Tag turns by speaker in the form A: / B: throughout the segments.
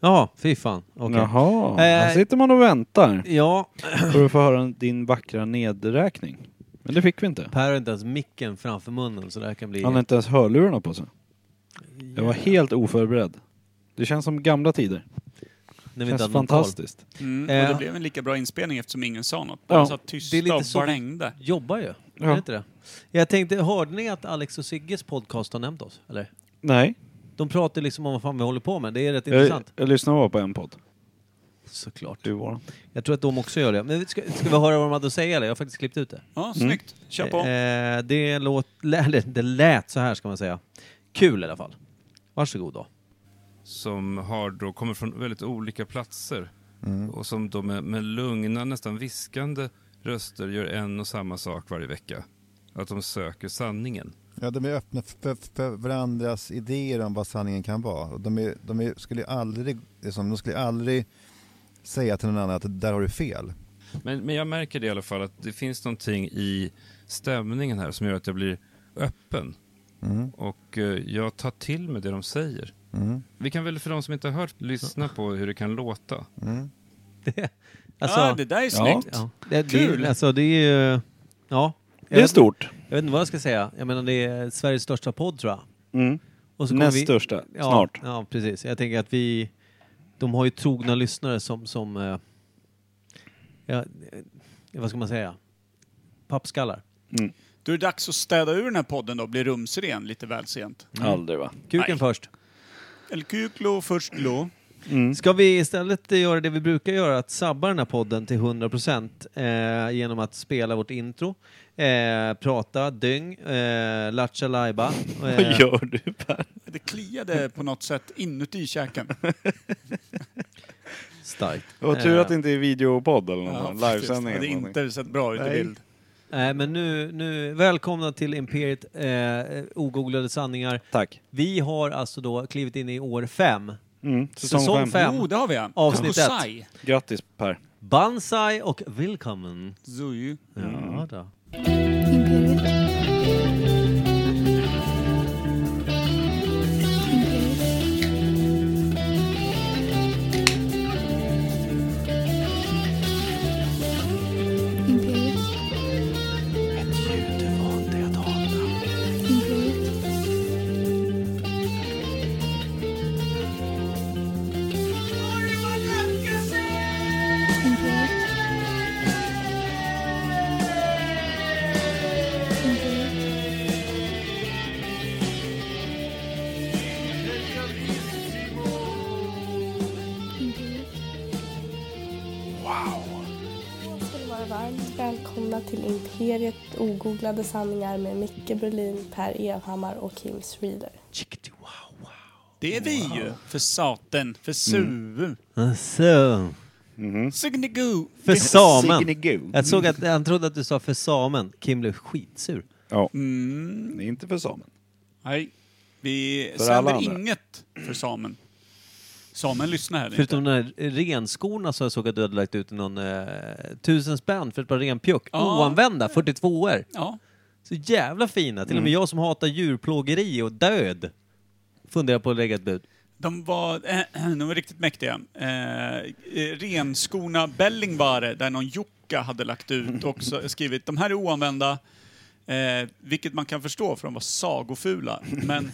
A: Ja, fy fan. Okej.
B: Jaha, här
A: Eh.
B: sitter man och väntar.
A: Ja,
B: För att få höra din vackra nedräkning. Men det fick vi inte.
A: Per har inte ens micken framför munnen så det här kan bli...
B: Han har inte ens hörlurarna på sig. Jag var helt oförberedd. Det känns som gamla tider.
A: när
B: Det
A: vi inte
B: känns
A: hade någon koll.
B: fantastiskt.
C: Mm,
A: Eh.
C: och det blev en lika bra inspelning eftersom ingen sa något. Bara
B: Ja.
C: satt tysta
A: Det är lite
C: och
A: så-
C: blängde.
A: Jobbar ju.
B: Ja.
A: Är det inte det? Jag tänkte, hörde ni att Alex och Sigges podcast har nämnt oss? Eller?
B: Nej,
A: De pratar liksom om vad fan vi håller på med. Det är rätt
B: jag,
A: intressant.
B: jag lyssnade bara på en podd.
A: Såklart.
B: Du var
A: Jag tror att de också gör det. Men ska, ska vi höra vad de hade att säga eller? Jag har faktiskt klippt ut det.
C: Ja, snyggt. Kör på.
A: Mm. Eh, det, låt, lä- det lät så här ska man säga. Kul i alla fall. Varsågod då.
D: som har då, kommer från väldigt olika platser och som då med, med lugna, nästan viskande röster gör en och samma sak varje vecka. Att de söker sanningen.
E: Ja, de är öppna för, för varandras idéer om vad sanningen kan vara. Och De, är, de är, skulle aldrig, liksom, de skulle aldrig säga till någon annan att där har du fel.
D: Men, men jag märker det i alla fall att det finns någonting i stämningen här som gör att jag blir öppen. Och eh, jag tar till mig det de säger. Vi kan väl för de som inte har hört lyssna på hur det kan låta.
A: Alltså,
C: ah, det där är snyggt.
A: ja. det,
C: Kul.
A: Det, alltså det är ju... Ja. Jag
B: det är
A: vet-
B: stort.
A: Jag vet inte vad jag ska säga. Jag menar det är Sveriges största podd tror jag.
B: Mm.
A: Och så kommer
B: Näst
A: vi-
B: största,
A: Ja,
B: snart.
A: Ja, precis. Jag tänker att vi... De har ju trogna lyssnare som... som eh, ja, eh, vad ska man säga? Pappskallar.
C: Då är det dags att städa ur den här podden då och bli rumsren lite väl sent.
A: Mm.
B: Aldrig va?
A: Kuken
C: Nej.
A: först.
C: El Kuklo först lo.
B: Mm.
A: Ska vi istället göra det vi brukar göra, att sabba den här podden till 100% eh, genom att spela vårt intro, eh, prata, dyng, eh, lattja lajba. Eh,
B: Vad gör du Per?
C: Det kliade på något sätt inuti käken.
A: starkt.
B: Det var tur
A: Eh,
B: att det inte är videopodd eller
C: Ja,
B: något.
C: faktiskt.
B: Livesändning.
C: Det hade
B: eller någonting.
C: inte sett bra ut i
B: Nej.
C: bild.
A: Nej, Eh, men nu, nu, välkomna till Imperiet eh, Ogooglade sanningar.
B: Tack.
A: Vi har alltså då klivit in i år fem.
B: Mm.
A: Säsong fem.
B: Säsong 5.
C: Jo, Oh, det har vi ja.
A: Avsnitt ett.
C: Kokosai.
B: Grattis Per.
A: Bansai och Willkommen. Mm.
C: Zuyu.
A: Ja, då.
F: Imperiet. Imperiet. Imperiet. Imperiet. Imperiet. Imperiet. Imperiet.
G: Då ska ni vara varmt välkomna till Imperiet ogooglade sanningar med Micke Berlin, Per Evhammar och Kim Schreeder.
A: Chickity, wow,
C: Det är vi ju. För saten. För
B: Mm.
C: suvu.
A: wow. Så.
C: Signigu.
A: Alltså, För samen.
B: Signegu.
A: Jag såg att han trodde att du sa för samen. Kim blev skitsur.
B: Ja.
A: Mm.
B: Det är inte för samen.
C: Nej. Vi
B: För alla
C: sänder
B: andra.
C: inget för samen. Samen lyssnar här inte.
A: Förutom de här renskorna så jag såg att du hade lagt ut någon eh, tusen spänn för ett par renpjuck.
C: Ja.
A: Oanvända, 42 er
C: Ja.
A: Så jävla fina. Till och med jag som hatar djurplågeri och död funderar på att lägga ett bud.
C: De var, eh, de var riktigt mäktiga. Eh, eh, renskorna Bellingvare, där någon Jukka hade lagt ut och så- skrivit de här är oanvända, eh, vilket man kan förstå för de var sagofula. Men, men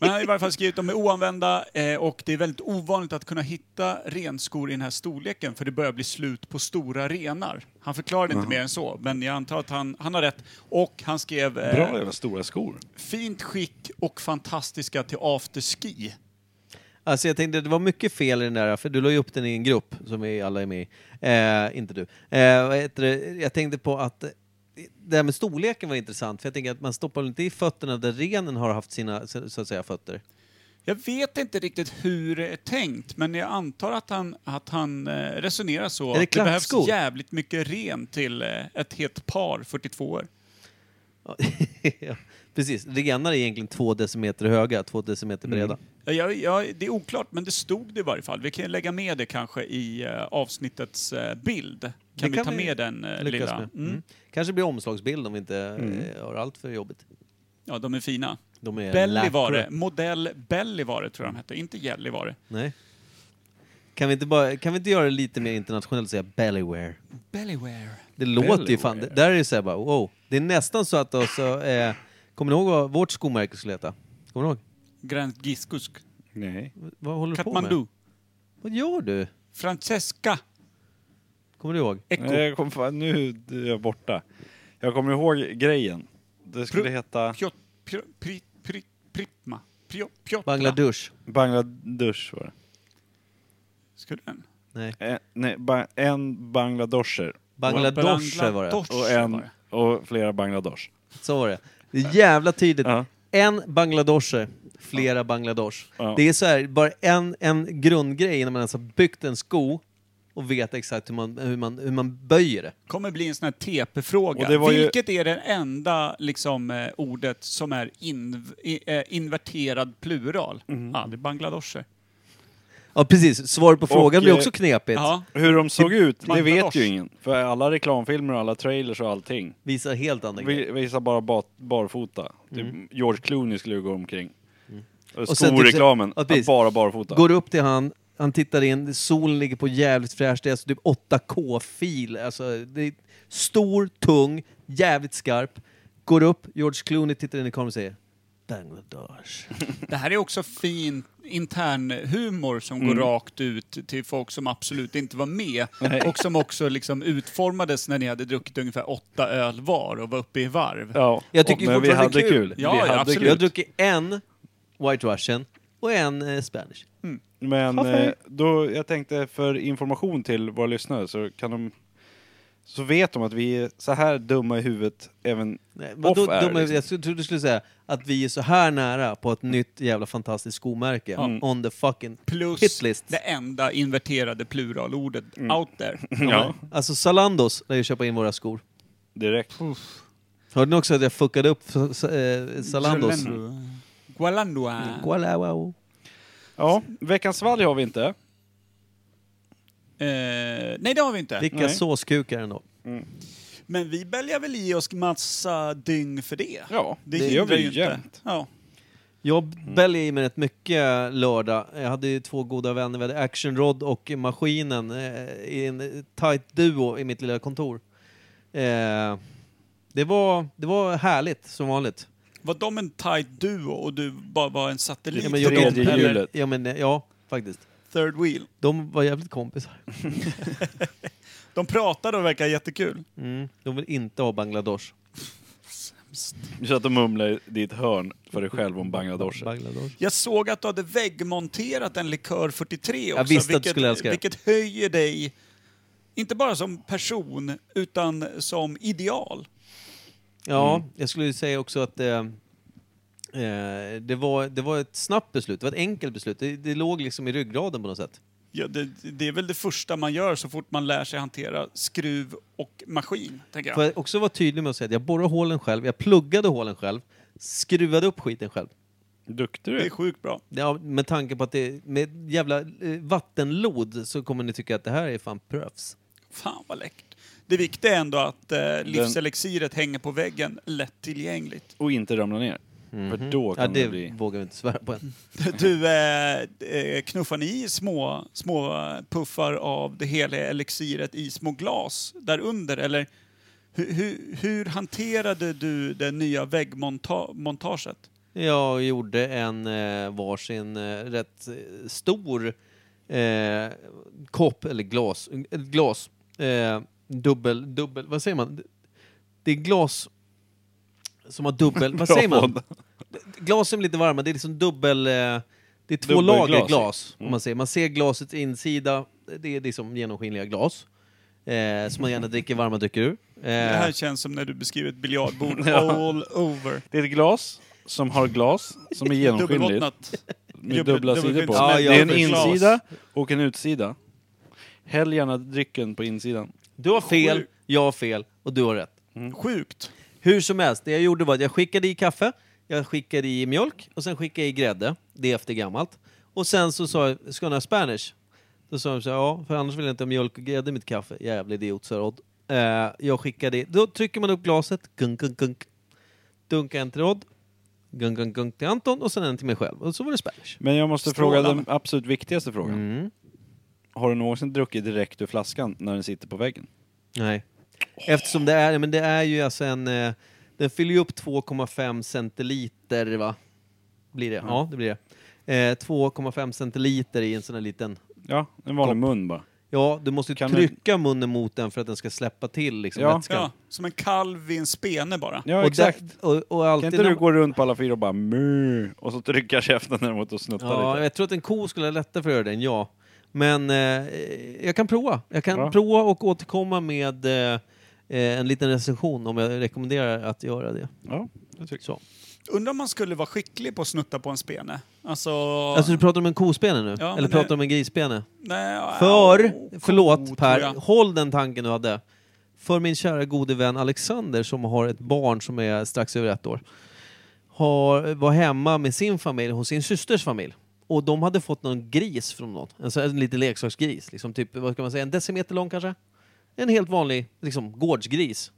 C: han hade i varje fall skrivit de är oanvända eh, och det är väldigt ovanligt att kunna hitta renskor i den här storleken för det börjar bli slut på stora renar. Han förklarade inte mer än så, men jag antar att han, han har rätt. Och han skrev eh,
B: Bra jävla stora skor.
C: fint skick och fantastiska till afterski.
A: Alltså jag tänkte, det var mycket fel i den där, för du la ju upp den i en grupp som vi alla är med i. Eh, inte du. Eh, vad heter det? Jag tänkte på att eh, det här med storleken var intressant, för jag tänker att man stoppar väl inte i fötterna där renen har haft sina, så så att säga, fötter.
C: Jag vet inte riktigt hur det är tänkt, men jag antar att han, att han eh, resonerar så.
A: det
C: att det behövs
A: klackskor?
C: jävligt mycket ren till eh, ett helt par 42 år.
A: Ja, ja, Precis, renar är egentligen två decimeter höga, två decimeter breda.
C: Jag, jag, det är oklart, men det stod det i varje fall. Vi kan ju lägga med det kanske i eh, avsnittets eh, bild. Kan,
A: Det
C: vi
A: kan
C: ta
A: vi
C: med den eh,
A: Lyckas
C: lilla?
A: med.
C: Mm.
A: Mm. Kanske blir omslagsbild om vi inte eh, har allt för jobbigt.
C: Ja, de är fina.
A: De är
C: Bellivare,
A: lacquer.
C: modell Bellivare tror jag de hette, inte Gällivare.
A: Nej. Kan vi inte, bara, kan vi inte göra det lite mer internationellt och säga Bellyware?
C: Bellyware.
A: Det låter ju fan... Det, där är det så här bara, wow. Det är nästan så att också, eh, Kommer ni ihåg vad vårt skomärke skulle heta? Kommer ni ihåg?
C: Grand Giskusk.
B: Nej.
A: Vad håller du på med?
C: Katmandu.
A: Vad gör du?
C: Francesca.
A: Kommer du ihåg?
B: Nej,
C: Eko.
B: jag kom fan, nu är jag borta. Jag kommer ihåg grejen. Det skulle
C: Pro-
B: heta
C: Pjot, pjot, pri, pri, Pripma. Pjot, Pjotra.
A: Bangladesh?
B: Bangladesh var det.
C: Skulle den?
A: Nej.
B: Eh, nej, ba- en bangladosher
A: Bangladesh var det.
C: Bangladosh
B: och,
C: var
B: en,
C: det.
B: och flera bangladosh.
A: Så var det. Det är jävla tydligt.
B: Ja.
A: En bangladosher, flera bangladesh.
B: Ja.
A: Det är så här, bara en, en grundgrej innan man ens har byggt en sko och vet exakt hur man, hur man, hur man böjer det.
C: kommer bli en sån här
B: Och det
C: TP-fråga.
B: var ju-
C: Vilket är det enda liksom, eh, ordet som är inv, i, eh, inverterad plural?
B: Mm.
C: Ja, det är Bangladesh.
A: Ja precis, svaret på frågan blir
B: eh,
A: också knepigt.
C: Ja.
B: Hur de såg ut, det vet
C: Bangladesh.
B: ju ingen. För alla reklamfilmer och alla trailers och allting
A: Visar helt andra grejer.
B: vi- visar bara ba- barfota.
C: Mm.
B: Typ George Clooney skulle ju gå omkring. Och
A: Och sen typ så-
B: Skoreklamen,
A: ja,
B: att
A: precis.
B: bara barfota.
A: Går upp till han, han tittar in, solen ligger på jävligt fräscht, det är alltså typ 8K-fil. Alltså, det är stor, tung, jävligt skarp. Går upp, George Clooney tittar in i kameran och säger Bangladesh.
C: Det här är också fin intern humor som
B: Mm.
C: går rakt ut till folk som absolut inte var med och som också liksom utformades när ni hade druckit ungefär åtta öl var och var uppe i varv.
B: Ja.
A: Jag tycker
B: Och- men vi
A: fortfarande
B: hade
A: det är kul.
B: kul.
C: Ja,
B: vi
C: ja,
B: hade
C: absolut.
A: Jag har
B: kul.
A: druckit en White Russian och en eh, Spanish.
B: Men eh, då, jag tänkte för information till våra lyssnare så kan de så vet de att vi är så här dumma i huvudet även
A: Nej,
B: off
A: vadå,
B: air.
A: dumma-
B: liksom.
A: Jag trodde du skulle säga att vi är så här nära på ett nytt jävla fantastiskt skomärke.
B: Mm.
A: On the fucking
C: Plus
A: hitlist.
C: det enda inverterade pluralordet out there.
B: Ja,
A: Alltså Zalandos lär ju köpa in våra skor.
B: direkt.
A: Hörde ni också att jag fuckade upp f- s- eh, Zalandos?
B: Mm,
C: Gualandua.
A: Gualawao.
B: Ja, veckans svalg har vi inte.
C: Eh, nej, det har vi inte.
A: Vilka
B: Nej.
A: såskukar ändå.
C: Men vi bälgar väl i oss massa dyng för det.
B: Ja, det, gör
C: hindrar
B: vi
C: ju
B: ju
C: inte.
B: jämt.
C: Ja.
A: Jag bälgade i mig rätt mycket lördag. Jag hade ju två goda vänner. Vi hade Action Rod och Maskinen eh, i en tight duo i mitt lilla kontor. Eh, det, var, det var härligt som vanligt.
C: Var de en tight duo och du bara var en satellit?
B: Ja,
A: men
B: jag
C: för dem,
B: tredje
C: eller
B: hjulet.
A: Ja, men, eh, ja, faktiskt.
C: Third wheel.
A: De var jävligt kompisar.
C: De pratade och verkar jättekul.
A: Mm. De vill inte ha Bangladesh.
B: Du satt och mumlade i ditt hörn för dig själv om Bangladesh.
A: Bangladesh.
C: Jag såg att du hade väggmonterat en Likör 43 också.
A: Jag visste att du
C: vilket,
A: skulle älska det.
C: Vilket höjer dig, inte bara som person, utan som ideal.
A: Ja,
B: Mm.
A: jag skulle ju säga också att eh, eh, det, var, det var ett snabbt beslut, det var ett enkelt beslut. Det, det låg liksom i ryggraden på något sätt.
C: Ja, det, det är väl det första man gör så fort man lär sig hantera skruv och maskin, tänker jag.
A: Får jag också vara tydlig med att säga att jag borrade hålen själv, jag pluggade hålen själv, skruvade upp skiten själv.
B: Duktig
C: Det är
B: du
C: sjukt bra.
A: Ja, med tanke på att det med jävla eh, vattenlod så kommer ni tycka att det här är fan proffs.
C: Fan vad läckert. Det viktiga är ändå att eh, livselixiret hänger på väggen lättillgängligt.
B: Och inte ramla ner. För då kan
A: Ja, det
B: det bli...
A: vågar vi inte svära på än.
C: Du, eh, eh, knuffar ni i små, små puffar av det heliga elixiret i små glas där under eller hur, hur, hur hanterade du det nya väggmontaget?
A: Jag gjorde en eh, varsin eh, rätt eh, stor eh, kopp, eller glas, ett glas, eh, dubbel, dubbel, vad säger man? Det är glas som har dubbel, vad
B: Bra
A: säger man?
B: podd.
A: Glasen blir lite varma, det är liksom dubbel, eh, det är två
B: Dubbelglas,
A: lager
B: ja.
A: glas.
C: Mm.
A: Om man, säger. man ser glasets insida, det är liksom genomskinliga glas. Eh, som man gärna dricker varma drycker ur.
C: Det
A: Eh,
C: här känns som när du beskriver ett biljardbord all over.
B: Det är ett glas som har glas som är genomskinligt.
C: Dubbelbottnat.
B: Med dubbla sidor på.
C: Dubbelbottnat
A: Ja, ja,
B: det är en
A: förstås.
B: insida och en utsida. Häll gärna drycken på insidan.
A: du har fel, jag har fel och du har rätt.
C: Sjukt.
A: Hur som helst, det jag gjorde var att jag skickade i kaffe, jag skickade i mjölk och sen skickade jag i grädde. Det är efter gammalt. Och sen så sa jag, ska ni ha Spanish? Då sa de så här, ja, för annars vill jag inte ha mjölk och grädde i mitt kaffe. Jävla idiot, sa Rod. Eh, jag skickade i, då trycker man upp glaset, gunk, gunk, gunk. Dunkar en till Rod, gunk, gunk, gunk till Anton och sen en till mig själv. Och så var det Spanish.
B: Men jag måste
C: Strålande.
B: Mm. fråga den absolut viktigaste frågan. Har du någonsin druckit direkt ur flaskan när den sitter på väggen?
A: Nej. Eftersom det är, men det är ju alltså en... eh, Den fyller ju upp 2,5 centiliter, va? Blir det? Ja, det blir det. Eh, 2,5 centiliter i en sån här liten...
B: Ja, en vanlig
A: Kopp.
B: mun bara.
A: Ja, du måste ju
B: Kan
A: trycka munnen mot den för att den ska släppa till liksom,
B: Ja.
A: vätskan.
C: Ja, som en kalv i en spene bara.
B: Ja,
A: och
B: exakt.
A: Där, och, och alltid
B: Kan inte du
A: när-
B: gå runt på alla fyra och bara mu och så trycka käften däremot och snutta
A: Ja,
B: lite?
A: jag tror att en ko skulle ha lättare för att göra det än jag. Men eh, jag kan prova. Jag kan
B: Bra.
A: prova och återkomma med eh, eh, en liten recension om jag rekommenderar att göra det.
B: Ja, det tycker
A: Så.
C: Undrar om man skulle vara skicklig på att snutta på en spene? Alltså...
A: Alltså du pratar om en kospene nu?
C: Ja,
A: Eller
C: men
A: pratar
C: det-
A: du om en grisspene?
C: nej, ja,
A: För,
C: ko,
A: förlåt
C: tror
A: Per,
C: jag.
A: håll den tanken du hade. För min kära gode vän Alexander som har ett barn som är strax över ett år. Har, var hemma med sin familj hos sin systers familj. Och de hade fått någon gris från någon. En, sån- en liten leksaksgris. Liksom typ, vad ska man säga, en decimeter lång kanske? En helt vanlig liksom, gårdsgris.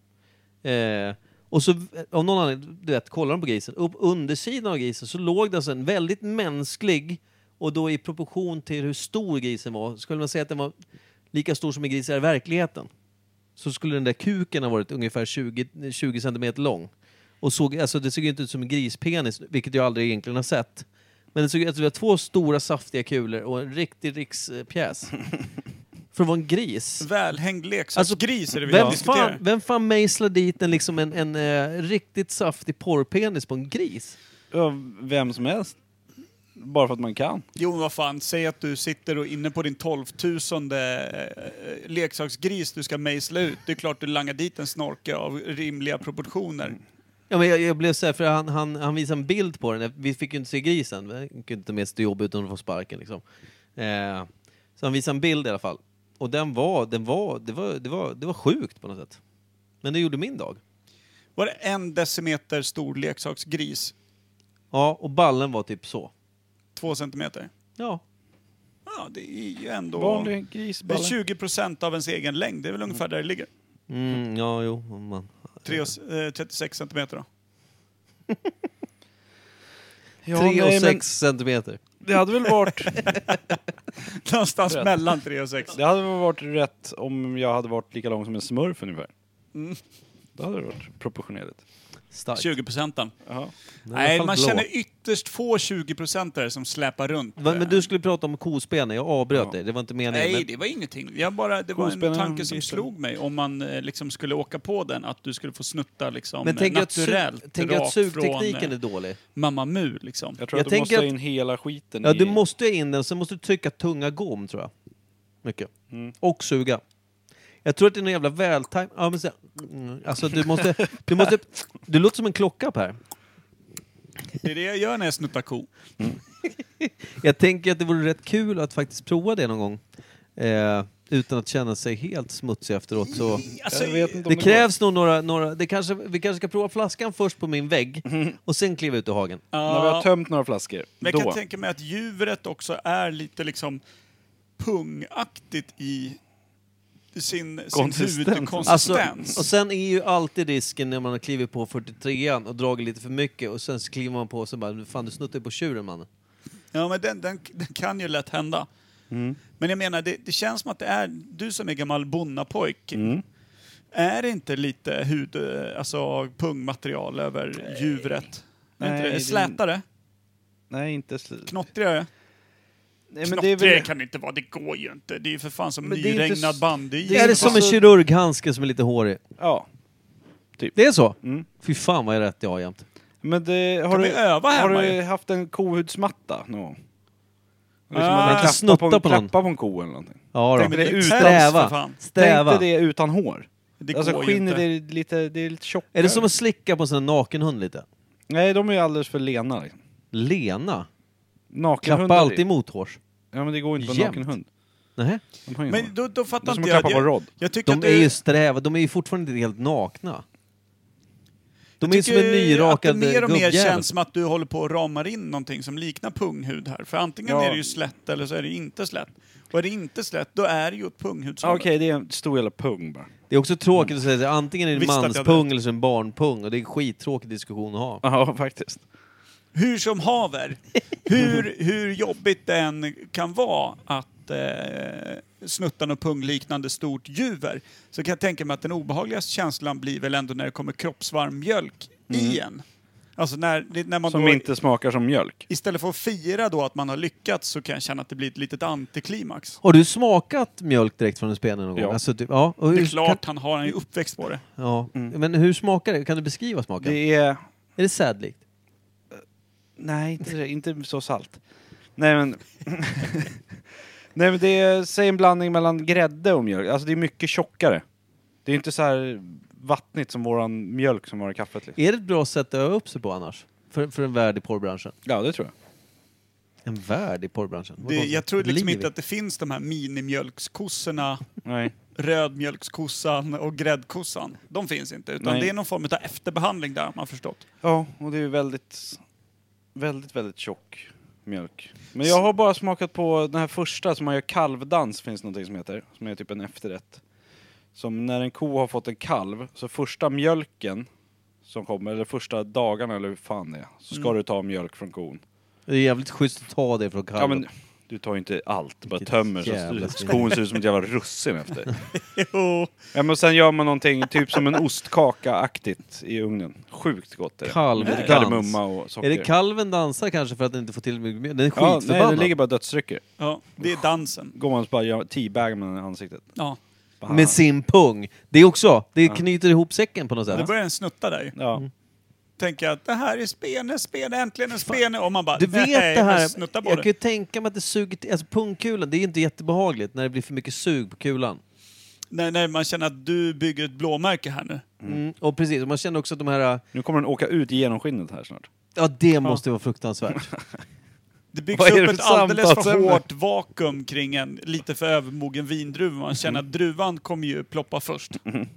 A: Eh, och så av någon anledning, du vet, kollar de på grisen. Upp undersidan av grisen så låg det alltså en väldigt mänsklig och då i proportion till hur stor grisen var, skulle man säga att den var lika stor som en gris är i verkligheten, så skulle den där kuken ha varit ungefär 20, 20 centimeter lång. Och såg, alltså det såg ju inte ut som en grispenis, vilket jag aldrig egentligen har sett. Men det såg ut alltså, det var två stora saftiga kulor och en riktig rikspjäs. För att vara en gris.
C: Välhängd
A: Alltså,
C: leksaksgris är det vi
A: Vem
C: diskuterar.
A: fan, vem fan mejslar dit en, liksom en, en eh, riktigt saftig porrpenis på en gris?
B: jag. Ja, vem som helst. Bara för att man kan.
C: Jo, vad fan, säg att du sitter och inne på din 12 000 leksaksgris du ska mejsla ut. Det är klart du langar dit en snorke av rimliga
A: Mm.
C: proportioner.
A: Ja, men jag, jag blev så här, för han, han, han visade en bild på den. Vi fick ju inte se grisen. Vi kunde inte ta med oss till jobbet utan att få sparken. Liksom. Eh, så han visade en bild i alla fall. Och den var, den var, det, var, det, var, det var sjukt på något sätt. Men det gjorde min dag.
C: Var det en decimeter stor leksaksgris?
A: Ja, och ballen var typ så.
C: Två centimeter?
A: Ja,
C: Ja, det är ju ändå...
B: Vanlig
C: Det är
B: grisballe.
C: 20 procent av ens egen längd. Det är väl ungefär där det ligger.
A: mm, ja jo. om Man.
C: Tre och, eh, 36 centimeter då.
B: Ja,
A: Tre och
B: nej, men
A: sex centimeter.
B: Det hade väl varit...
C: Någonstans
B: Rätt.
C: mellan 3 och 6.
B: Det hade väl varit rätt om jag hade varit lika lång som en smurf ungefär.
C: Mm.
B: Det hade varit proportionerligt.
A: Starkt.
C: 20 procenten.
B: Jaha.
A: Den är i alla
C: Nej,
A: fall
C: man
A: blå.
C: känner ytterst få 20 procentare som släpar runt.
A: Va, men du skulle prata om kospene, jag avbröt
B: Ja.
A: dig. Det var inte meningen.
C: Nej,
A: men-
C: det var ingenting. Jag bara, det var en
B: Kospännen
C: tanke som
B: gissar.
C: slog mig om man eh, liksom skulle åka på den, att du skulle få snutta liksom
A: Men tänk
C: eh,
A: att,
C: naturellt,
A: sug, tänk att sugtekniken
C: från
A: är
C: eh,
A: dålig.
C: Mamma Mu liksom.
B: Jag tror
A: Jag
B: att du
A: tänker
B: måste ha
A: att-
B: in hela skiten
A: Ja, du
B: i...
A: måste ju in den, sen måste du trycka tunga gom tror jag. Mycket. Och suga. Jag tror att det är någon jävla vältajm... Ja, men så... mm, Alltså du måste, du måste... Du låter som en klocka Per.
C: Det är det jag gör när jag snuttar ko.
A: Jag tänker att det vore rätt kul att faktiskt prova det någon gång. Eh, utan att känna sig helt smutsig efteråt. Så.
C: Alltså,
B: Jag vet inte om
A: Det
B: det
A: krävs nog några... några det kanske, vi kanske ska prova flaskan först på min vägg och sen kliva ut i hagen.
B: går. När vi har
C: ja,
B: tömt några flaskor,
C: men jag
B: då.
C: kan tänka mig att djuret också är lite liksom pungaktigt i sin, sin
B: Konsistens.
C: hudkonsistens.
A: Alltså, och sen är ju alltid risken när man har klivit på 43an och dragit lite för mycket och sen så kliver man på och så bara fan du snuttar ju på tjuren mannen.
C: Ja, men den, den, den kan ju lätt hända.
B: Mm.
C: Men jag menar, det, det känns som att det är du som är gammal bonnapojk.
B: Mm.
C: Är det inte lite hud, eh, alltså pungmaterial över djuret? Nej,
B: Nej,
C: inte
B: det
C: det?
B: är-
C: Slätare?
B: Nej, inte slut.
C: Knottrigare?
B: Nej,
C: Knottrigare
B: är väl-
C: kan det inte vara, det går ju inte. Det är ju för fan som
B: Men det är inte
C: nyregnad
B: s-
C: bandy.
A: Det är det som en
B: Alltså-
A: kirurghandske som är lite hårig.
B: Ja.
A: Det är så?
B: Mm.
A: Fy fan vad jag har rätt jag har jämt.
B: Men det, har
C: Kan
B: du,
C: vi öva
B: har
C: hemma
B: du
C: ju?
B: haft en kohudsmatta någon gång? Liksom
C: Ah.
B: att man
A: Kan
B: klappar på,
A: snutta
B: en-
A: på någon.
B: klappar på en ko eller någonting.
A: Ja
C: Tänk
A: då.
C: dig det
B: utan-
C: utan, för
A: Stäva.
C: fan.
A: Stäva.
B: Tänk dig det utan hår.
C: Det
B: alltså
C: går ju
B: skinnet
C: inte.
B: är lite, det är lite tjockare.
A: Är det som att slicka på en sån här nakenhund lite?
B: Nej, de är ju alldeles för lena liksom.
A: Lena?
B: Nakenhundar
A: Klappa
B: är-
A: alltid mothårs?
B: Ja men det går inte på en
A: Jämt.
B: nakenhund.
A: Nej.
B: De har ju
C: Men
B: men,
C: då, då
B: det är
C: fattar
B: som
C: inte
B: att
C: jag.
B: klappa på en
C: Jag,
B: rod.
C: jag tycker att
A: De
C: det
A: är ju sträva, de är ju fortfarande inte helt nakna. De är ju som en
C: tycker
A: nyrakad
C: att det mer och mer
A: gubbjävel.
C: känns som att du håller på och ramar in någonting som liknar punghud här. För antingen
B: Ja.
C: är det ju slätt eller så är det inte slätt. Och är det inte slätt, då är det ju åt
B: Ah,
C: punghudshållet.
B: Okej, det är en stor jävla pung bara.
A: Det är också tråkigt att säga att antingen är det en
C: Mm. Visst att jag hade
A: manspung eller så är det en barnpung och det är en skittråkig diskussion att ha.
B: Ja, faktiskt.
C: Hur som haver, hur, hur jobbigt det än kan vara att eh, snuttan och pungliknande stort juver så kan jag tänka mig att den obehagligaste känslan blir väl ändå när det kommer kroppsvarm mjölk i en. Alltså när, när man
B: Som
C: då,
B: inte smakar som mjölk.
C: istället för att fira då att man har lyckats så kan jag känna att det blir ett litet antiklimax.
A: Har du smakat mjölk direkt från en spene någon gång?
B: Ja.
A: Alltså, typ, ja. Och
C: Det är
A: hur,
C: klart, Mm. han har han ju uppväxt på det.
A: Kan, ja. Men hur smakar det? Kan du beskriva smaken?
B: Det är...
A: Är det sädligt?
B: Nej, inte, så- inte så salt. Nej men... Nej men det är, säg en blandning mellan grädde och mjölk. Alltså det är mycket tjockare. Det är inte så här vattnigt som våran mjölk som var i kaffet. Liksom.
A: Är det ett bra sätt att öva upp sig på annars? För, för en värld i porrbranschen?
B: Ja, det tror jag.
A: En värld i porrbranschen? Vad
C: det
A: konstigt.
C: jag tror liksom
A: Liv.
C: inte att det finns de här minimjölkskossorna,
B: Nej.
C: rödmjölkskossan och gräddkossan. De finns inte, utan
B: Nej.
C: det är någon form av efterbehandling där, har man förstått.
B: Ja, och det är ju väldigt, väldigt, väldigt tjock mjölk. Men jag har bara smakat på den här första som man gör kalvdans, finns det någonting som heter. Som är typ en efterrätt. Som när en ko har fått en kalv, så första mjölken som kommer, eller första dagarna eller hur fan det är, så
A: Mm.
B: ska du ta mjölk från kon.
A: Det är jävligt schysst att ta det från kalven.
B: Ja men du tar ju inte allt, bara
A: Vilket
B: tömmer
A: jävla
B: så
A: svin.
B: kon ser ut som ett jävla russin efter.
C: Jo.
B: Ja men sen gör man någonting typ som en ostkaka-aktigt i ugnen. Sjukt gott är det.
A: Kalvdans.
B: Lite kardemumma och socker.
A: Är det kalven dansar kanske för att den inte får tillräckligt mycket Den är
B: Ja, nej, det
A: skitförbannad.
B: ligger bara dödsrycker.
C: Ja, det är dansen.
B: Går man och bara gör teabagar med ansiktet.
C: Ja.
B: Bara-
A: Med sin pung. Det är också, det knyter ihop säcken på något
C: Det
A: sätt.
C: börjar en snutta där ju.
B: Ja.
A: Mm.
C: Tänker att det här är spene, spene, äntligen en spene. Och man bara,
A: Du vet
C: nej,
A: det här,
C: men snutta på
A: jag
C: det.
A: kan ju tänka mig att det suger till, alltså pungkulan, det är ju inte jättebehagligt när det blir för mycket sug på kulan.
C: Nej, nej, man känner att du bygger ett blåmärke här nu.
A: Mm. Och precis, och man känner också att de här,
B: Nu kommer den åka ut genom skinnet här snart.
A: ja det måste vara fruktansvärt.
C: Det byggs
B: Vad är det
C: upp
B: för
C: ett alldeles för
B: samtalsämne?
C: hårt vakuum kring en lite för övermogen vindruva. Man känner att druvan kommer ju ploppa först.
B: Mm.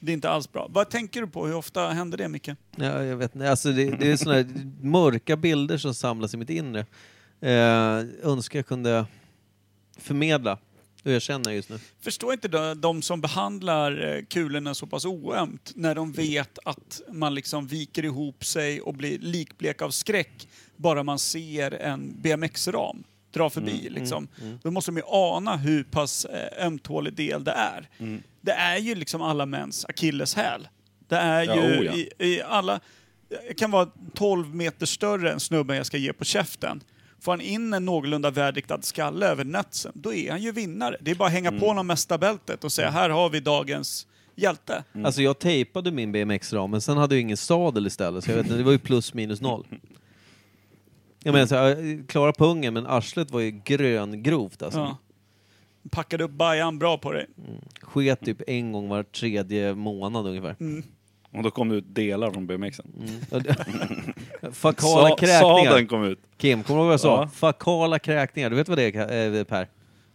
C: Det är inte alls bra. Vad tänker du på? Hur ofta händer det, Micke?
A: ja, jag vet inte, alltså det, det är sådana här mörka bilder som samlas i mitt inre. Eh, önskar jag kunde förmedla hur jag känner just nu.
C: Förstår inte de, de som behandlar eh, kulorna så pass oömt när de vet att man liksom viker ihop sig och blir likblek av skräck bara man ser en BMX-ram dra förbi.
B: Mm,
C: liksom. Då måste de ju ana hur pass eh, ömtålig del det är.
B: Mm.
C: Det är ju liksom alla mäns akilleshäl. Det är
B: Ja,
C: ju
B: oh ja.
C: i, i alla... Jag kan vara 12 meter större än snubben jag ska ge på käften. Får han in en någorlunda välriktad skalle över nutsen, då är han ju vinnare. Det är bara att hänga
B: Mm.
C: på honom mästarbältet och säga här har vi dagens hjälte.
B: Mm.
A: Alltså jag tejpade min BMX-ram, men sen hade jag ingen sadel istället, så jag vet inte, det var ju plus minus noll. Jag menar så här, klara pungen, men arslet var ju gröngrovt alltså.
C: Ja. Packade upp bajan bra på dig.
A: Sket typ en gång var tredje månad ungefär.
B: Och då kom det ut delar från BMXen.
A: Fakala
B: Sa-
A: Mm. kräkningar.
B: Sadeln kom ut.
A: Kim, kommer du ihåg vad jag sa?
B: Ja.
A: Fakala kräkningar, du vet vad det är eh, Per?
B: Mm.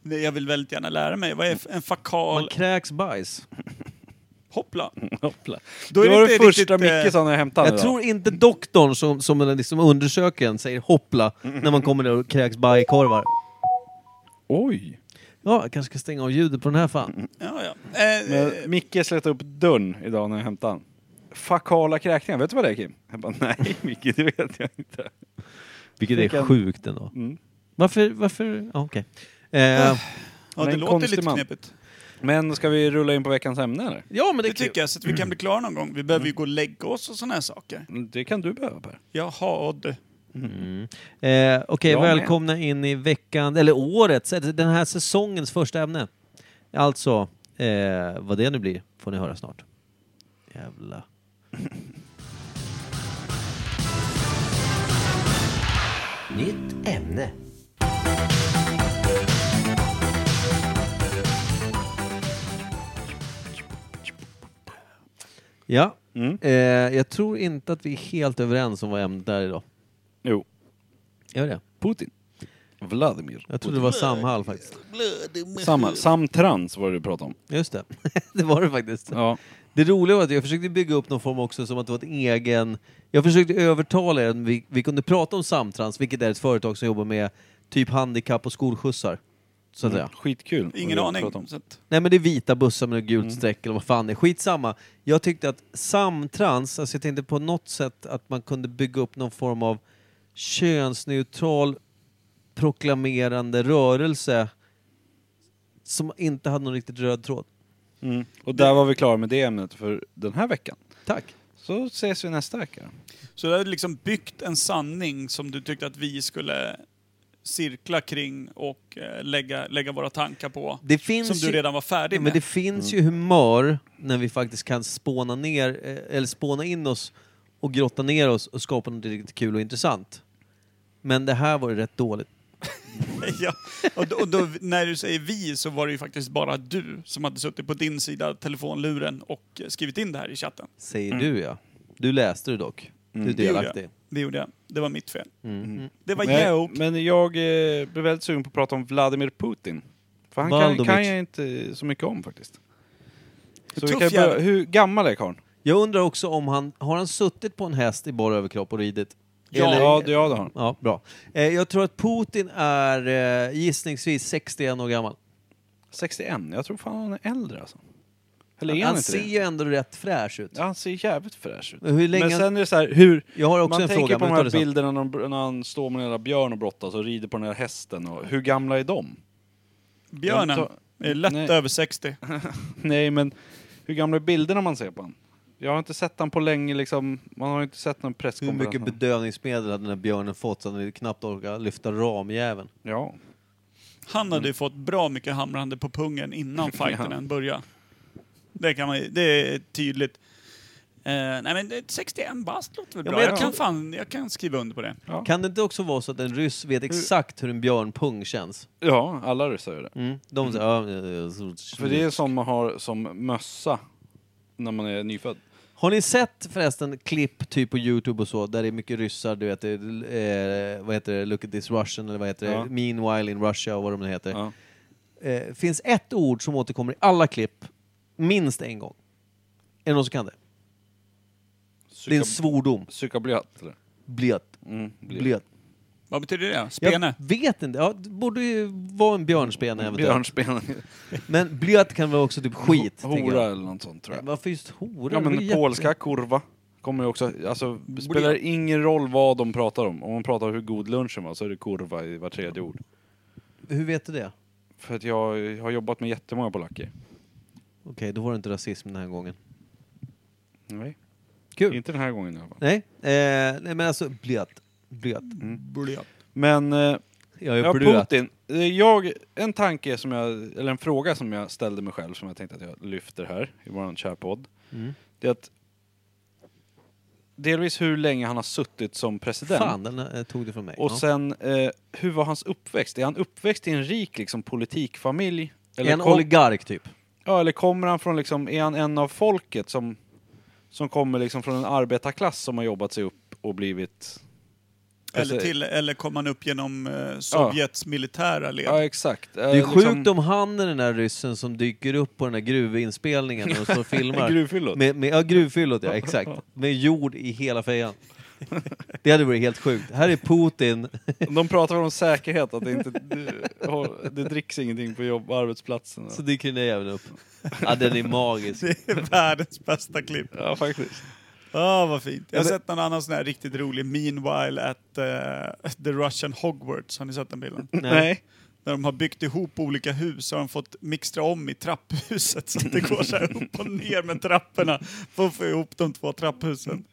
C: Nej, Jag vill väldigt gärna lära mig. Vad är f- en
A: Man
C: fakal...
A: kräks bajs.
C: Hoppla!
B: Mm. Hoppla.
C: Då är
B: det
C: det
B: var
C: inte
B: det första
C: riktigt, eh,
B: Micke sa när jag hämtade
A: Jag
B: den idag.
A: tror inte doktorn som, som den liksom undersöker en säger hoppla
B: Mm.
A: när man kommer där och kräks bajkorvar.
B: Oj!
A: Ja, jag kanske ska stänga av ljudet på den här
B: Mm.
A: fan.
C: Ja, ja. Eh, eh,
B: Men Micke slet upp dörren idag när jag hämtade han. Fakala kräkningar, vet du vad det är Kim? Jag bara, nej Micke, det vet jag inte.
A: Vilket är
B: Vilken-
A: sjukt ändå.
B: Mm. Ah.
A: Varför, varför, ja okej. Eh,
C: ja,
B: Men
C: det
B: en
C: låter
B: konstig
C: lite
B: man.
C: knepigt.
B: Men ska vi rulla in på veckans ämne eller?
A: ja men det,
C: Det tycker jag, så att vi kan bli klara någon gång. Vi behöver
B: Mm.
C: ju gå och lägga oss och sådana här saker.
B: Det kan du behöva Per.
C: Jaha, du.
A: Eh, Okej,
B: Jag med.
A: välkomna in i veckan, eller årets, eh, den här säsongens första ämne. Alltså, eh, vad det nu blir får ni höra snart. Jävla... Nytt ämne. Ja,
B: Mm.
A: eh, jag tror inte att vi är helt överens om vad ämnet är idag.
B: Jo.
A: Gör det?
B: Putin. Vladimir.
A: Jag trodde det var Samhall faktiskt.
B: Samma, samtrans var det du pratade om.
A: Just det. det var det faktiskt.
B: Ja.
A: Det roliga var att jag försökte bygga upp någon form också som att det var ett egen... Jag försökte övertala er att vi, vi kunde prata om Samtrans, vilket är ett företag som jobbar med typ handikapp och skolskjutsar. Så att säga.
B: Mm. Skitkul.
C: Ingen
B: att
C: aning.
B: prata om.
C: Så att,
A: Nej men det är vita bussar med något gult streck eller vad fan det är. Skitsamma. Jag tyckte att Samtrans, alltså jag tänkte på något sätt att man kunde bygga upp någon form av könsneutral proklamerande rörelse som inte hade någon riktigt röd tråd.
B: Mm. Och där var vi klara med det ämnet för den här veckan.
A: Tack!
B: Så ses vi nästa vecka.
C: Så du hade liksom byggt en sanning som du tyckte att vi skulle cirkla kring och eh, lägga, lägga våra tankar på.
A: Det finns
C: Som
A: ju-
C: du redan var färdig
A: Ja, men det
C: med.
A: finns
B: Mm.
A: ju humör när vi faktiskt kan spåna ner, eh, eller spåna in oss och grotta ner oss och skapa något riktigt kul och intressant. Men det här var ju rätt dåligt.
C: ja. Och, då, och då, när du säger vi så var det ju faktiskt bara du som hade suttit på din sida av telefonluren och eh, skrivit in det här i chatten.
A: Säger
B: Mm.
A: du ja. Du läste det dock. Du är
C: Det gjorde
A: delaktig.
C: Det gjorde jag. Det var mitt fel.
A: Mm.
C: Det var
B: Men,
C: jag.
B: men jag eh, blev väldigt sugen på att prata om Vladimir Putin. För han kan,
A: Valdovic.
B: kan jag inte så mycket om faktiskt. Så vi
C: Tuff
B: kan börja,
C: jävel.
B: hur gammal är karln?
A: Jag undrar också om han, har han suttit på en häst i bara överkropp och ridit? Eller-
B: Ja, det, ja, det har han.
A: Ja, bra. Eh, jag tror att Putin är eh, gissningsvis 61 år gammal.
B: 61? Jag tror fan han är äldre alltså. Eller är
A: Han,
B: han, inte
A: ser
B: det?
A: ju ändå rätt fräsch ut.
B: Ja, han ser jävligt fräsch ut.
A: Men Hur länge...
B: Men sen är det så här, hur...
A: jag har också
B: man
A: en
B: tänker
A: fråga,
B: på
A: men vi
B: de
A: tar det
B: här
A: sen.
B: bilderna när, de, när han står med den där björn och brottas och rider på den där hästen. Och, hur gamla är de?
C: Björnen
B: Jag
C: är lätt
B: Nej.
C: över 60.
B: Nej, men hur gamla är bilderna man ser på honom? Jag har inte sett han på länge liksom. Man har inte sett någon
A: Hur
B: presskonferens.
A: mycket bedövningsmedel hade den här björnen fått så han hade knappt orkat lyfta ramjäveln?
B: Ja.
C: Han
A: Mm.
C: hade ju fått bra mycket hamrande på pungen innan fighten än började. Det, kan man, ju- det är tydligt. Eh, nej men det- 61 bast låter väl
A: Ja,
C: bra.
A: men jag
C: Jag kan,
A: tror-
C: fan, jag kan skriva under på det.
B: Ja.
A: Kan det inte också vara så att en ryss vet exakt hur en björnpung känns?
B: ja, alla ryssar gör det.
A: Mm. De säger ja, ja, ja, så-
B: För det är som man har som mössa när man är nyfödd.
A: Har ni sett förresten klipp typ på Youtube och så där det är mycket ryssar, du vet, det är, eh, vad heter det, Look at this Russian eller vad heter
B: Ja.
A: det, Meanwhile in Russia och vad de nu heter.
B: Ja.
A: Eh, finns ett ord som återkommer i alla klipp, minst en gång. Är det någon som kan det? Det är en svordom.
B: Psykablöt eller?
A: Blöt.
B: Mm, blöt.
A: Blöt.
C: Vad betyder det? Spene?
A: Jag vet inte. Ja, det borde ju vara en björnspene eventuellt.
B: Björnspel.
A: Men blöt kan vara också typ skit. tänker
B: Hora
A: jag.
B: eller något sånt tror
A: Nej,
B: jag.
A: Varför just hora?
B: Ja
A: Det var ju
B: men
A: jätte-
B: polska kurva kommer ju också, alltså det spelar ingen roll vad de pratar om. Om man pratar om hur god lunchen var så är det kurva i var tredje ord.
A: Hur vet du det?
B: För att jag har jobbat med jättemånga polacker.
A: Okej, då var det inte rasism den här gången.
B: Nej.
A: Kul.
B: Inte den här gången i alla fall.
A: Nej, eh, nej men alltså blöt. Blöt.
C: Blöt.
B: Men, eh,
A: Jag är
B: ja,
A: blöt.
B: Putin. Eh, Jag, en tanke som jag, eller en fråga som jag ställde mig själv som jag tänkte att jag lyfter här i våran kära podd.
A: Mm.
B: Det är att delvis hur länge han har suttit som president.
A: Fan, den eh, tog du från mig.
B: Och
A: Ja.
B: sen, eh, hur var hans uppväxt? Är han uppväxt i en rik liksom, politikfamilj? Eller,
A: en
B: kom-
A: oligark typ.
B: ja, eller kommer han från, liksom, är han en av folket som, som kommer liksom, från en arbetarklass som har jobbat sig upp och blivit...
C: Eller,
B: Alltså-
C: till, eller kom han upp genom eh, Sovjets militära led?
B: Ja, exakt. Eh, liksom
A: Det är sjukt om han är den där ryssen som dyker upp på den där gruvinspelningen och så filmar.
B: Gruvfyllot.
A: Med, med, ja, gruvfyllot ja, exakt. Med jord i hela fejan. Det hade varit helt sjukt. Här är Putin.
B: De pratar väl om säkerhet, att det inte... Det, det dricks ingenting på jobb, arbetsplatsen.
A: Så dyker den där jäveln upp. Ja, den är magisk.
C: Det är världens bästa klipp.
B: Ja, faktiskt.
C: Ah, vad fint. Jag har sett någon annan sån här riktigt rolig, Meanwhile at eh, the Russian Hogwarts. Har ni sett den bilden?
B: Nej.
C: När de har byggt ihop olika hus så har de fått mixtra om i trapphuset så att det går så här upp och ner med trapporna för att få ihop de två trapphusen.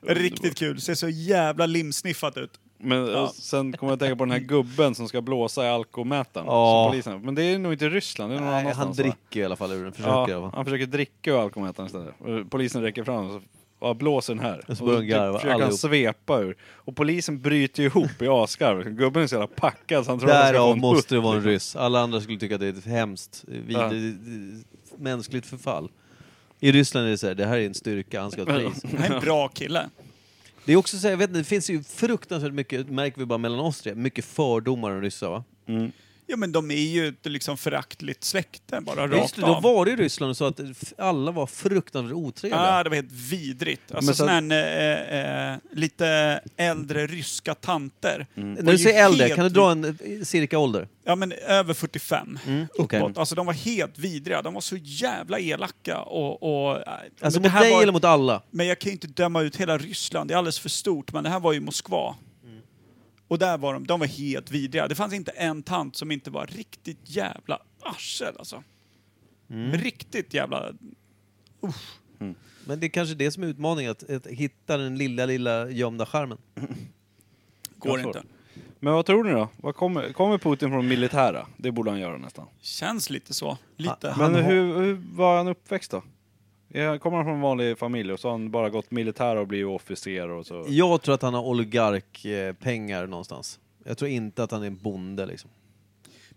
C: Riktigt kul. Det ser så jävla limsniffat ut.
B: Men och sen kommer jag att tänka på den här gubben som ska blåsa i alkomätaren.
A: Ja.
B: som polisen- Men det är nog inte Ryssland, det är någon
A: Nej, han
B: annanstans. va?
A: dricker i alla fall ur den. Försöker i alla
B: Ja,
A: fall.
B: han försöker dricka ur alkomätaren istället. Och Polisen räcker fram och så ja, blåser den här. typ
A: Och så börjar de garva,
B: försöker han
A: allihop.
B: svepa ur. Och polisen bryter ihop i asgarv. Gubben är så jävla packad så han tror att han ska få
A: Därav
B: en
A: måste det
B: putt.
A: vara en ryss. Alla andra skulle tycka att det är ett hemskt, eh,
B: Ja.
A: vidrigt, eh, mänskligt förfall. I Ryssland är det så här, det här är en styrka, han ska ha ett pris.
C: Han är en bra kille.
A: Det är också så här, jag vet inte, det finns ju fruktansvärt mycket, märker vi bara mellan oss tre, mycket fördomar om ryssar va?
C: Ja men de är ju ett liksom föraktligt släkte bara
A: Just
C: rakt
A: det, då
C: av.
A: var det i Ryssland och sa att f- alla var fruktansvärt otrevliga.
C: Ah, det var helt vidrigt. Alltså
B: Men sen-
C: sån här eh, eh, lite äldre ryska tanter.
A: Mm. När du säger äldre, kan du dra en eh, cirka ålder?
C: Ja men över 45.
A: Mm.
C: uppåt.
A: okej.
C: Alltså de var helt vidriga. De var så jävla elaka och... och äh,
A: Alltså
C: men, det
A: mot
C: här
A: dig
C: var,
A: eller mot alla?
C: men jag kan ju inte döma ut hela Ryssland, det är alldeles för stort. Men det här var ju Moskva.
A: Mm.
C: Och där var de, de var helt vidriga. Det fanns inte en tant som inte var riktigt jävla arsel alltså.
A: Mm.
C: Riktigt jävla...
A: Men det är kanske det som är utmaningen, att, att hitta den lilla, lilla gömda charmen.
C: Går
B: Jag
C: inte.
B: förstår. Men vad tror ni då? Vad kommer, kommer Putin från militära? Det borde han göra nästan.
C: Känns lite så. Lite.
B: Men hur, hur var han uppväxt då? Är- Kommer han från en vanlig familj och så har han bara gått militära och blivit officer och så?
A: Jag tror att han har oligarkpengar någonstans. Jag tror inte att han är en bonde liksom.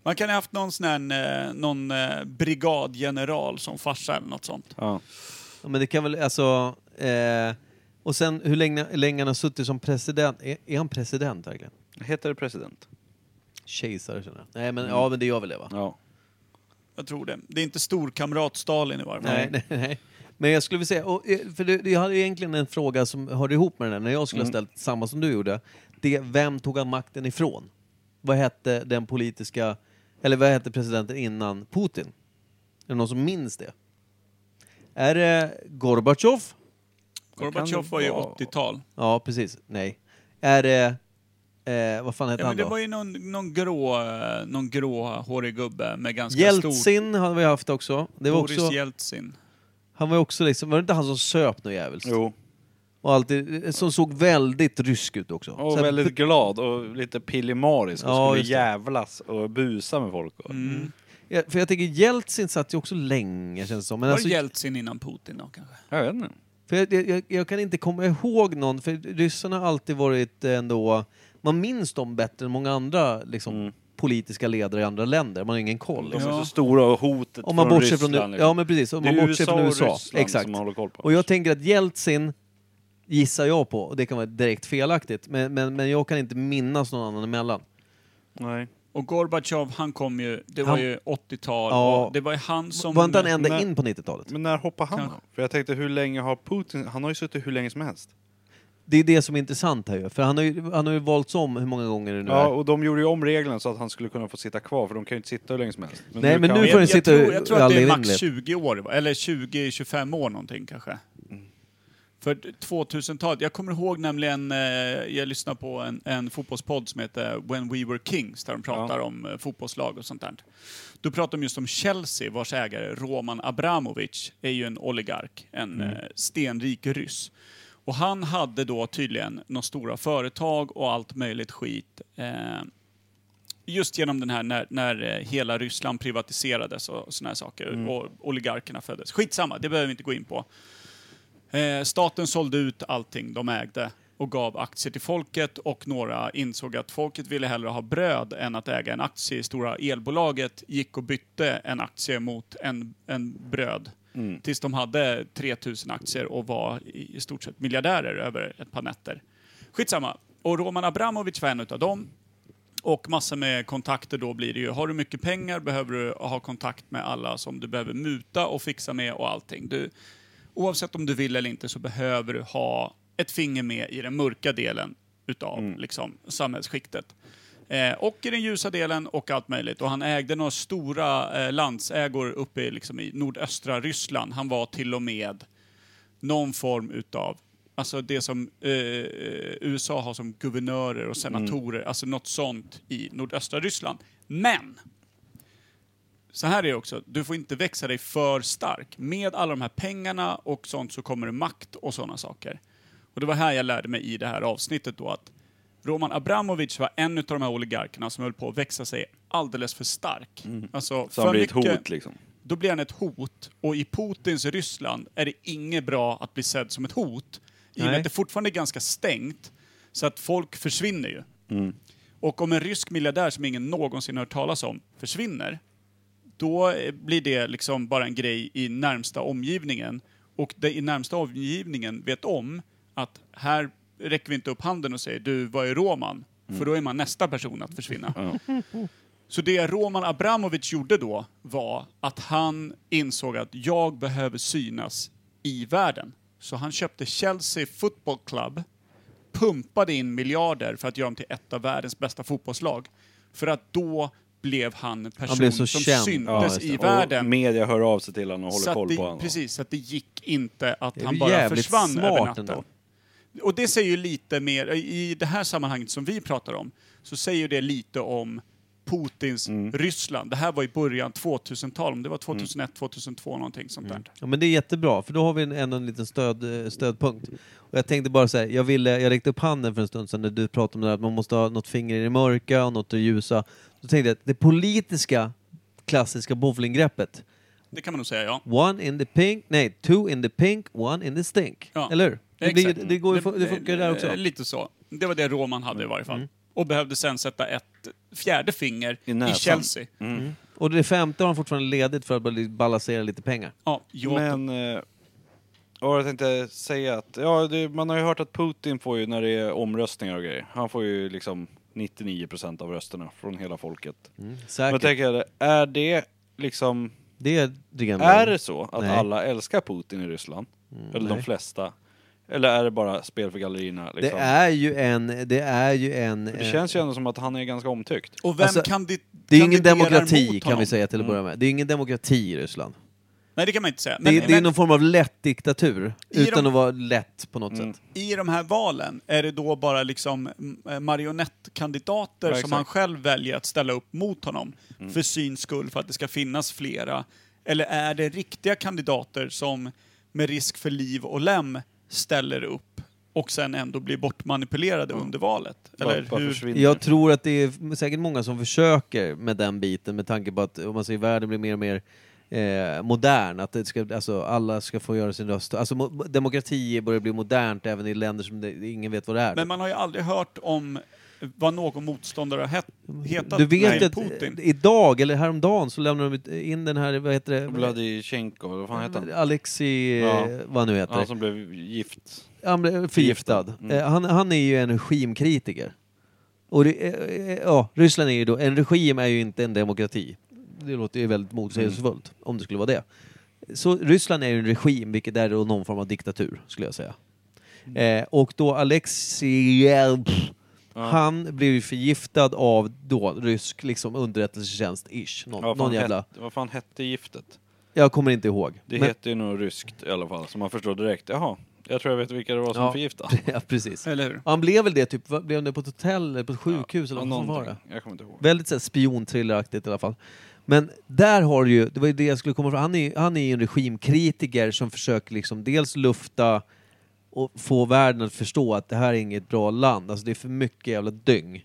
C: Man kan ha haft någon sån här, eh, någon eh, brigadgeneral som farsa eller något sånt.
B: Ja.
A: Ja, Men det kan väl, alltså... Eh, och sen hur länge, länge han har suttit som president. Är, är han president verkligen?
B: Heter det president?
A: Kejsare känner jag. Nej men
C: Mm.
A: ja, men det gör väl det va?
B: Ja.
C: Jag tror det. Det är inte storkamrat Stalin i varje fall.
A: Nej, nej, nej. Men jag skulle vilja säga, och, eh, för det, jag hade ju egentligen en fråga som hörde ihop med den här, när jag skulle ha
C: Mm.
A: ställt samma som du gjorde. Det, vem tog han makten ifrån? Vad hette den politiska, eller vad hette presidenten innan Putin? Är det någon som minns det? Är det Gorbatjov?
C: Gorbatjov var ju 80-tal.
A: Ja, precis. Nej. Är det, eh, vad fan hette
C: Ja, men
A: han
C: det
A: då?
C: var ju någon, någon grå, eh, någon grå hårig gubbe med ganska stor...
A: Jeltsin har vi haft också. Det var
C: Boris
A: också
C: Jeltsin.
A: han var ju också liksom, var det inte han som söp något jävligt?
B: Jo.
A: Och alltid, som såg väldigt rysk ut också.
B: Och
A: Så här,
B: väldigt glad och lite pillemarisk och
A: Ja,
B: skulle
A: just det. Mm.
B: jävlas och busa med folk. Och.
A: Ja, för jag tänker Jeltsin satt ju också länge känns det som. Men
C: Var
A: alltså,
C: det Jeltsin innan Putin då kanske?
B: Jag vet inte.
A: för jag, jag, jag kan inte komma ihåg någon, för ryssarna har alltid varit ändå... Man minns dem bättre än många andra liksom,
B: Mm.
A: politiska ledare i andra länder. Man har ingen koll.
B: De
A: Liksom.
B: är
C: Ja.
B: så stora och hotet
A: Om man
B: Mm. från
A: bortser
B: Ryssland.
A: från...
B: liksom.
A: Ja, men precis. Om
B: det är
A: man bortser från USA.
B: och Ryssland
A: Exakt.
B: som man håller koll på.
A: Och jag tänker att Jeltsin gissar jag på, och det kan vara direkt felaktigt, men, men, men jag kan inte minnas någon annan emellan.
B: Nej.
C: Och Gorbatjov, han kom ju... Det var
A: Han-
C: ju 80-tal.
A: Ja.
C: och Det var ju han som...
A: Var inte han ända
B: men-
A: in på 90-talet?
B: Men när hoppar han
C: Kanske.
B: då? För jag tänkte, hur länge har Putin... Han har ju suttit hur länge som helst.
A: Det är det som är intressant här ju, för han har ju, han har ju valts om hur många gånger det nu
B: Ja,
A: är.
B: och de gjorde ju om reglerna så att han skulle kunna få sitta kvar, för de kan ju inte sitta hur länge som helst.
A: Nej, men
B: kan
A: nu får
B: han-
A: den
C: jag, jag,
A: sitta
C: tror, jag tror att det är
A: all
C: max
A: evinnerlighet.
C: 20 år, va? eller 20-25 år någonting kanske. För 2000-talet, jag kommer ihåg nämligen, eh, jag lyssnade på en, en fotbollspodd som heter When We Were Kings, där de pratar om eh, fotbollslag och sånt där. Då pratar de just om Chelsea, vars ägare Roman Abramovich är ju en oligark, en
A: Mm.
C: eh, stenrik ryss. Och han hade då tydligen några stora företag och allt möjligt skit. Eh, just genom den här när, när eh, hela Ryssland privatiserades och såna här saker och oligarkerna föddes. Skitsamma, det behöver vi inte gå in på. Eh, staten sålde ut allting de ägde och gav aktier till folket och några insåg att folket ville hellre ha bröd än att äga en aktie i stora elbolaget, gick och bytte en aktie mot en, en bröd. Tills de hade 3000 aktier och var i i stort sett miljardärer över ett par nätter. Skitsamma. Och Roman Abramovich var en av dem. Och massor med kontakter då blir det ju. Har du mycket pengar behöver du ha kontakt med alla som du behöver muta och fixa med och allting. Du, oavsett om du vill eller inte så behöver du ha ett finger med i den mörka delen utav liksom, samhällsskiktet. Eh, och i den ljusa delen och allt möjligt. Och han ägde några stora eh, landsägor uppe i, liksom, i nordöstra Ryssland. Han var till och med någon form utav, alltså det som eh, USA har som guvernörer och
B: Mm.
C: senatorer, alltså något sånt i nordöstra Ryssland. Men! Så här är det också, du får inte växa dig för stark. Med alla de här pengarna och sånt så kommer det makt och sådana saker. Och det var här jag lärde mig i det här avsnittet då att Roman Abramovich var en av de här oligarkerna som höll på att växa sig alldeles för stark. Alltså,
B: Mm. Så han
C: för
B: blir ett
C: mycket-
B: hot liksom.
C: då blir han ett hot. Och i Putins Ryssland är det inget bra att bli sedd som ett hot. I och med
A: Nej.
C: att det fortfarande är ganska stängt, så att folk försvinner ju. Och om en rysk miljardär som ingen någonsin hört talas om försvinner, då eh, blir det liksom bara en grej i närmsta omgivningen. Och det i närmsta omgivningen vet om att här räcker vi inte upp handen och säger du, vad är Roman? För då är man nästa person att försvinna. Så det Roman Abramovich gjorde då var att han insåg att jag behöver synas i världen. Så han köpte Chelsea Football Club, pumpade in miljarder för att göra dem till ett av världens bästa fotbollslag. För att då blev han en person
A: blev så
C: som
A: känd. Ja,
C: syntes
A: just det.
C: i
B: Och
C: världen.
B: media hör av sig till honom och håller
C: så att
B: koll
C: det,
B: på honom.
C: Precis, så att det gick inte att
A: är
C: han
A: ju
C: bara
A: jävligt
C: försvann
A: smart
C: över natten.
A: ändå.
C: Och det säger ju lite mer, i det här sammanhanget som vi pratar om, så säger det lite om Putins
B: Mm.
C: Ryssland. Det här var i början 2000-tal, om det var 2001, 2002 någonting sånt
B: Mm.
C: där.
A: Ja, men det är jättebra, för då har vi en, ändå en liten stöd, eh, stödpunkt. Och jag tänkte bara så här, jag, ville, jag räckte upp handen för en stund sedan när du pratade om det här att man måste ha något finger i det mörka och något i det ljusa. Då tänkte jag att det politiska klassiska bowlinggreppet,
C: Det kan man nog säga, ja.
A: one in the pink, nej, two in the pink, one in the stink.
C: Ja,
A: Eller hur? Det, blir,
C: exakt.
A: det, går, ju- det funkar ju där också. Mm.
C: eh, Lite så. Det var det Roman hade i varje fall. Och behövde sen sätta ett fjärde finger
B: I
C: i,
B: näsan. Mm.
C: Chelsea.
A: Och det femte har han fortfarande ledigt för att bara balansera lite pengar.
C: Ja, Jota.
B: Men... Eh, och jag tänkte säga att, ja det, man har ju hört att Putin får ju när det är omröstningar och grejer, han får ju liksom 99% av rösterna från hela folket. Men
A: Mm. Säkert.
B: jag tänker, är det liksom,
A: det är det gamla.
B: är det så att
A: Nej. Mm,
B: alla älskar Putin i Ryssland? Eller de
A: nej.
B: flesta? Eller är det bara spel för gallerierna?
A: Det
B: Liksom?
A: är ju en... Det är ju en...
B: det
A: eh,
B: känns ju ändå som att han är ganska omtyckt.
C: och vem
A: alltså,
C: kan dit,
A: Det är ju
C: kan
A: ingen
C: ditera
A: demokrati
C: mot
A: kan
C: honom?
A: vi säga till att börja med. Det är ju ingen demokrati i Ryssland.
C: Nej, det kan man inte säga.
A: det,
C: Men,
A: är- det är
C: men
A: någon form av lätt diktatur,
C: I
A: utan
C: de- Mm.
A: att vara lätt på något sätt.
C: i de här valen, är det då bara liksom eh, marionettkandidater
B: Ja,
C: som
B: exakt.
C: han själv väljer att ställa upp mot honom
A: Mm.
C: för syns skull, för att det ska finnas flera? Eller är det riktiga kandidater som med risk för liv och lem ställer upp och sen ändå blir bortmanipulerade under valet?
B: Bara,
C: Eller
B: bara
C: hur?
B: försvinner.
A: Jag tror att det är säkert många som försöker med den biten med tanke på att om man säger, världen blir mer och mer eh, modern. Att det ska, alltså, alla ska få göra sin röst. Alltså, mo- demokrati börjar bli modernt även i länder som det, ingen vet vad det är.
C: Men man har ju aldrig hört om vad någon motståndare har het- hetat
A: du vet
C: till
A: att
C: Putin.
A: eh, idag, eller häromdagen, så lämnade de ut- in den här, vad heter det?
B: Vladichenko, vad fan heter
A: Mm,
B: han?
A: Alexi,
B: Ja.
A: eh, vad han nu heter.
B: Han som blev gift.
A: Han blev förgiftad.
B: Mm.
A: Eh, Han, han är ju en regimkritiker. Och det, eh, eh, ja, Ryssland är ju då, en regim är ju inte en demokrati. Det låter ju väldigt motsägelsefullt,
B: Mm.
A: om det skulle vara det. Så Ryssland är ju en regim, vilket är då någon form av diktatur, skulle jag säga.
B: Mm.
A: Eh, och då Alexej... pff, Han blev ju förgiftad av då rysk liksom, underrättelsetjänst-ish. Någon,
B: Vad fan,
A: någon jävla...
B: hette, vad fan hette giftet?
A: Jag kommer inte ihåg.
B: Det
A: Men-
B: heter ju något ryskt i alla fall, så man förstår direkt. Jaha, jag tror jag vet vilka det var som
A: Ja.
B: förgiftade.
A: ja, precis.
C: Eller hur?
A: Han blev väl det, typ, vad- blev han det på ett hotell eller på ett sjukhus eller vad fan var det?
B: någonting. Jag kommer inte ihåg.
A: Väldigt så här spionthrilleraktigt i alla fall. Men där har du ju, det var ju det jag skulle komma fram han är, ju- han är ju en regimkritiker som försöker liksom dels lufta och få världen att förstå att det här är inget bra land, alltså det är för mycket jävla dyng.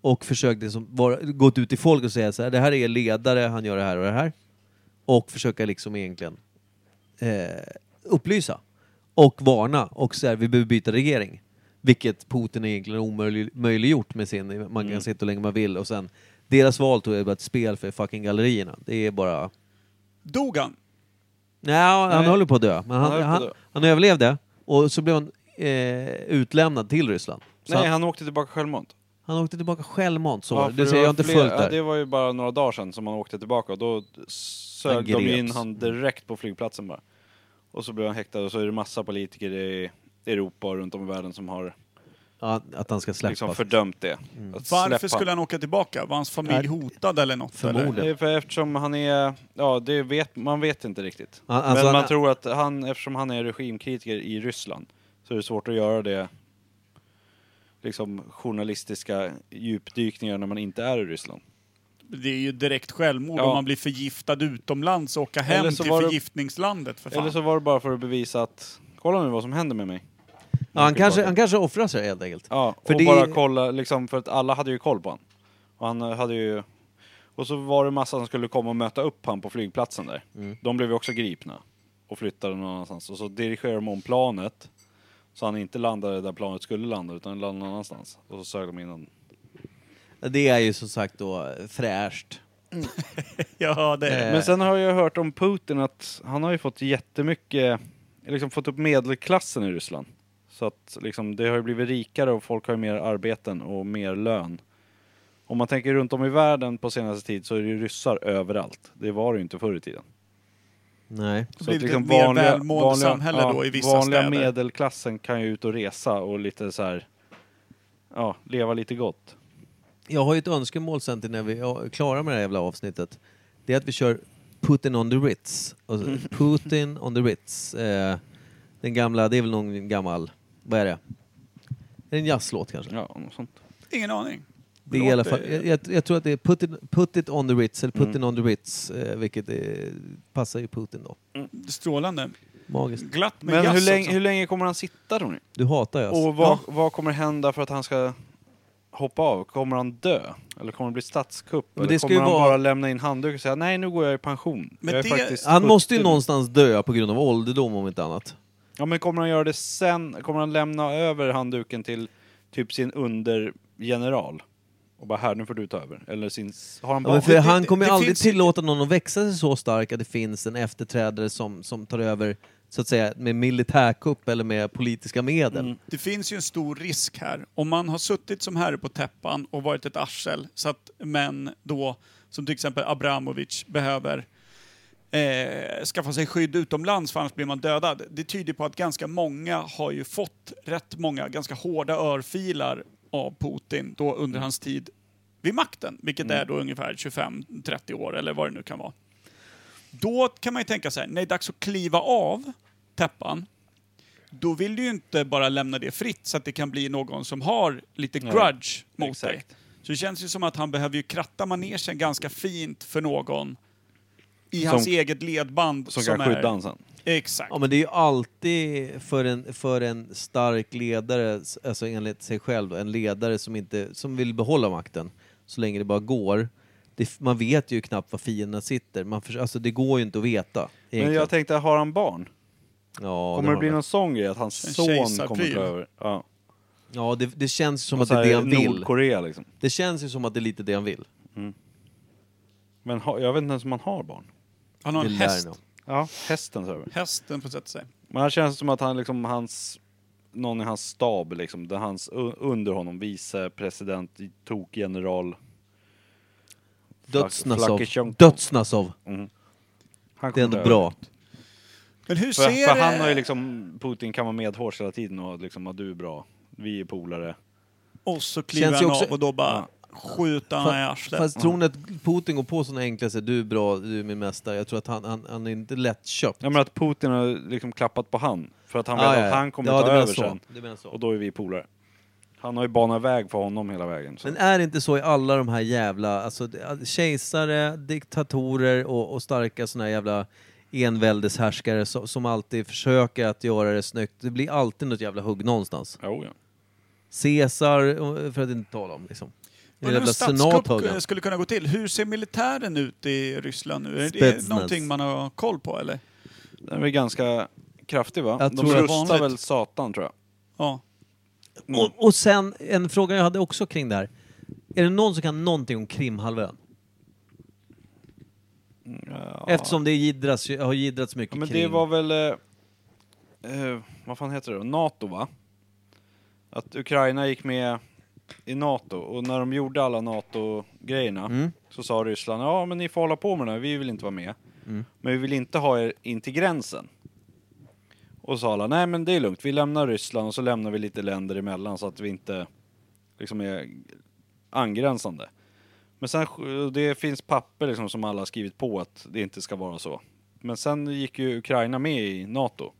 A: Och försökt liksom vara, gått ut till folk och säga så här, det här är er ledare, han gör det här och det här. Och försöka liksom egentligen eh, upplysa och varna och så här, vi behöver byta regering. Vilket Putin egentligen omöjliggjort med sin, man kan
B: Mm.
A: sitta hur länge man vill och sen deras val tror jag är bara ett spel för fucking gallerierna. Det är bara...
C: Dog han?
A: Nej, han
B: Nej.
A: håller på att dö. Men han,
B: Han höll
A: han,
B: på att
A: han,
B: dö.
A: överlevde och så blev han eh, utlämnad till Ryssland. Så
B: Nej,
A: han,
B: han åkte tillbaka självmant.
A: han åkte tillbaka självmant, så
B: Ja,
A: var
B: för
A: det. Du ser, jag har inte
B: fler-
A: följt
B: ja,
A: det här.
B: Det var ju bara några dagar sedan som han åkte tillbaka och då sög
A: Han
B: de
A: greps.
B: in han direkt på flygplatsen bara. Och så blev han häktad och så är det massa politiker i Europa och runt om i världen som har
A: Ja, att han ska släppas. Mm.
B: liksom fördömt det. Att
C: Varför
B: släppa.
C: skulle han åka tillbaka? Var hans familj hotad eller något?
A: Förmodligen.
B: Det är för eftersom han är, ja det vet, man vet inte riktigt.
A: Han- alltså
B: Men man
A: han-
B: tror att han, eftersom han är regimkritiker i Ryssland, så är det svårt att göra det liksom journalistiska djupdykningar när man inte är i Ryssland.
C: Eller? Det är ju direkt självmord
B: Ja.
C: om man blir förgiftad utomlands och åka hem
B: Eller så
C: till
B: var det-
C: förgiftningslandet för fan.
B: Eller så var det bara för att bevisa att, kolla nu vad som händer med mig.
A: ja, han, kanske, han kanske offrar sig helt enkelt.
B: Ja,
A: För
B: och
A: det-
B: bara kolla liksom, för att alla hade ju koll på han. Och han eh, hade ju... Och så var det massa som skulle komma och möta upp han på flygplatsen där.
A: Mm.
B: De blev ju också gripna och flyttade någon annanstans. Och så dirigerade de om planet. Så han inte landade där planet skulle landa utan landade någon annanstans. Och så sög de in honom.
A: Det är ju som sagt då fräscht.
C: Ja, det är det.
A: Eh.
B: Men sen har jag hört om Putin att han har ju fått jättemycket, liksom fått upp medelklassen i Ryssland. Så att liksom, det har ju blivit rikare och folk har ju mer arbeten och mer lön. Om man tänker runt om i världen på senaste tid så är det ju ryssar överallt. Det var det ju inte förr i tiden.
A: Nej.
B: Så
C: blivit
B: att liksom
C: ett mer välmående samhälle då i vissa
B: vanliga
C: städer.
B: medelklassen kan ju ut och resa och lite så här, ja, leva lite gott.
A: Jag har ju ett önskemål sen till när vi är klara med det här jävla avsnittet. Det är att vi kör Putin on the Ritz. Alltså,
B: Mm.
A: Putin on the Ritz. Eh, den gamla, det är väl någon gammal, vad är det? Är det en jazzlåt kanske?
B: Ja, något sånt.
C: Ingen aning.
A: Det är i alla fall, jag, jag- jag tror att det är put it, put it on the Ritz, eller put
B: Mm.
A: it on the Ritz, eh, vilket eh, passar ju Putin då.
C: Strålande.
A: Magiskt.
C: Glatt med
B: Men
C: jazz
B: hur länge,
C: också.
B: hur länge kommer han sitta tror ni?
A: Du hatar alltså. jazz.
B: Och vad, vad kommer hända för att han ska hoppa av? Kommer han dö? Eller kommer det bli statskupp?
A: Men det
B: Eller
A: ska
B: kommer
A: ju
B: han
A: vara-
B: bara lämna in handduken och säga nej nu går jag i pension?
C: Men
B: jag är
C: det-
B: faktiskt
A: Han måste ju
B: 70 nu."
A: någonstans dö på grund av ålderdom om inte annat.
B: Ja men kommer han göra det sen? Kommer han lämna över handduken till typ sin undergeneral? Och bara här, nu får du ta över. Eller sin... Har han
A: Ja,
B: barn?
A: men för han kommer ju
C: det
A: aldrig
C: finns-
A: tillåta någon att växa sig så stark att det finns en efterträdare som, som tar över så att säga med militärkupp eller med politiska medel.
B: Mm.
C: Det finns ju en stor risk här. Om man har suttit som herre på täppan och varit ett arsel så att män då, som till exempel Abramovic, behöver eh, skaffa sig skydd utomlands för annars blir man dödad. Det tyder på att ganska många har ju fått rätt många ganska hårda örfilar av Putin då under hans tid vid makten, vilket är då ungefär 25-30 år eller vad det nu kan vara. Då kan man ju tänka så här, när det är dags att kliva av täppan, då vill du ju inte bara lämna det fritt så att det kan bli någon som har lite grudge mot dig.
B: exakt.
C: Så det känns ju som att han behöver ju kratta manegen ganska fint för någon i
B: Som-
C: hans eget ledband.
B: Som kan
C: är-
B: skydda honom sen.
C: Exakt.
A: Ja, men det är ju alltid för en, för en stark ledare, s- alltså enligt sig själv, då, en ledare som, inte, som vill behålla makten så länge det bara går. Det, f- man vet ju knappt var fienderna sitter. Man förs- alltså, det går ju inte att veta.
B: Men jag tänkte, har han barn?
A: ja,
B: Kommer det
A: har
B: bli
A: han.
B: någon sån grej? Att hans son
C: kejsarpryl.
B: kommer ta över? Ja.
A: ja det, det känns som
B: Och
A: att
B: så
A: det är det
B: här,
A: han vill.
B: Nordkorea liksom.
A: Det känns ju som att det är lite det han vill.
B: Men ha, jag vet inte ens om han har barn.
C: Han har en
A: Det lär
C: häst.
A: nog.
B: Ja, hästen tar över.
C: Hästen får sätta sig.
B: Men här känns det som att han liksom, hans, någon i hans stab liksom, där hans, u- under honom, vice president, tok general.
A: Dödsnasov.
B: Flakisjunk.
A: Dödsnasov.
B: Han
A: Det är
B: kommer
A: ändå
B: dö.
A: bra.
C: Men hur
B: För,
C: ser
B: för han
C: det-
B: har ju liksom, Putin kan vara medhårs hela tiden och liksom, ja, du är bra, vi är polare.
C: Och så kliver
A: Känns ju
C: han
A: också-
C: av och då bara skjuter han i
A: Fa-
C: arslet.
A: Fast tror ni att Putin går på såna enkla sätt, du är bra, du är min mästare. Jag tror att han, han, han är inte lättköpt.
B: Ja men att Putin har liksom klappat på han, för att han vet
A: Ah, ja,
B: att
A: ja.
B: han kommer
A: Ja,
B: ta
A: du menar
B: över
A: så.
B: sen.
A: Du menar så.
B: Och då är vi polare. Han har ju banat väg för honom hela vägen. Så.
A: Men är det inte så i alla de här jävla, alltså det- kejsare, diktatorer och, och starka såna här jävla enväldeshärskare som, som alltid försöker att göra det snyggt. Det blir alltid något jävla hugg någonstans.
B: Jo, ja.
A: Caesar, eh, för att inte tala om liksom. En
C: Undrar hur
A: jävla
C: en
A: senat
C: statskupp
A: högg
C: eh,
A: han.
C: skulle kunna gå till. Hur ser militären ut i Ryssland nu? Är det
A: Spetsnaz.
C: någonting man har koll på eller?
B: Den är väl ganska kraftig va?
A: Jag
B: De
A: tror det.
B: rustar
C: Vanligt.
B: väl satan tror jag.
C: Ja.
A: Och, och sen en fråga jag hade också kring det här. Är det någon som kan någonting om Krimhalvön? Eftersom det gidras, har giddrats mycket
B: Ja, men
A: kring...
B: det var väl... eh, eh, vad fan heter det då? Nato, va? Att Ukraina gick med i Nato, och när de gjorde alla Nato-grejerna
A: Mm.
B: så sa Ryssland ja, men ni får hålla på med det här, vi vill inte vara med.
A: Mm.
B: Men vi vill inte ha er in till gränsen. Och sa alla, nej men det är lugnt, vi lämnar Ryssland och så lämnar vi lite länder emellan så att vi inte liksom är angränsande. Men sen, det finns papper liksom som alla har skrivit på att det inte ska vara så. Men sen gick ju Ukraina med i NATO,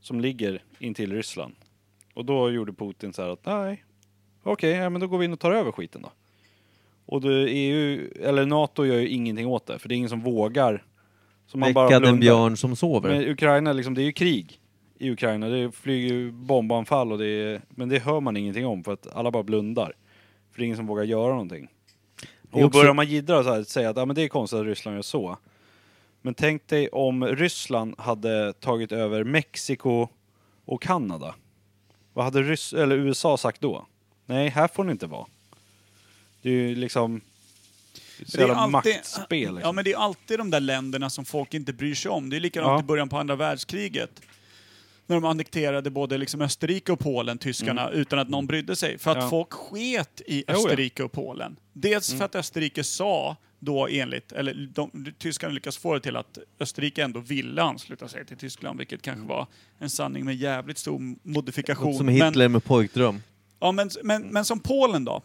B: som ligger intill Ryssland. Och då gjorde Putin så här att nej, okej, ja, men då går vi in och tar över skiten då. Och då EU, eller NATO gör ju ingenting åt det, för det är ingen som vågar. Så man bara
A: Väcka den
B: blundar.
A: björn som sover.
B: Men Ukraina, liksom, det är ju krig i Ukraina. Det flyger ju bombanfall och det är, men det hör man ingenting om för att alla bara blundar. För det är ingen som vågar göra någonting.
A: Det är
B: Och
A: också-
B: börjar man jiddra och så här, säga att ja, men det är konstigt att Ryssland gör så. Men tänk dig om Ryssland hade tagit över Mexiko och Kanada. Vad hade Ryss, eller USA sagt då? Nej, här får ni inte vara. Det är ju liksom... Det är
C: Det är
B: alltid,
C: alltid-
B: maktspel. Liksom.
C: ja, men det är alltid de där länderna som folk inte bryr sig om. Det är likadant
B: Ja.
C: i början på andra världskriget. När de annekterade både liksom Österrike och Polen, tyskarna, utan att någon brydde sig. För att
B: Mm. Ja.
C: folk sket i
B: ja. Mm.
C: Österrike och Polen. Dels för att Österrike sa då enligt, eller de, tyskarna lyckas få det till att Österrike ändå ville ansluta sig till Tyskland, vilket
B: Mm.
C: kanske var en sanning med jävligt stor modifikation.
A: Något som
C: Men-
A: Hitler med pojkdröm.
C: Ja, men, men, men som Polen då?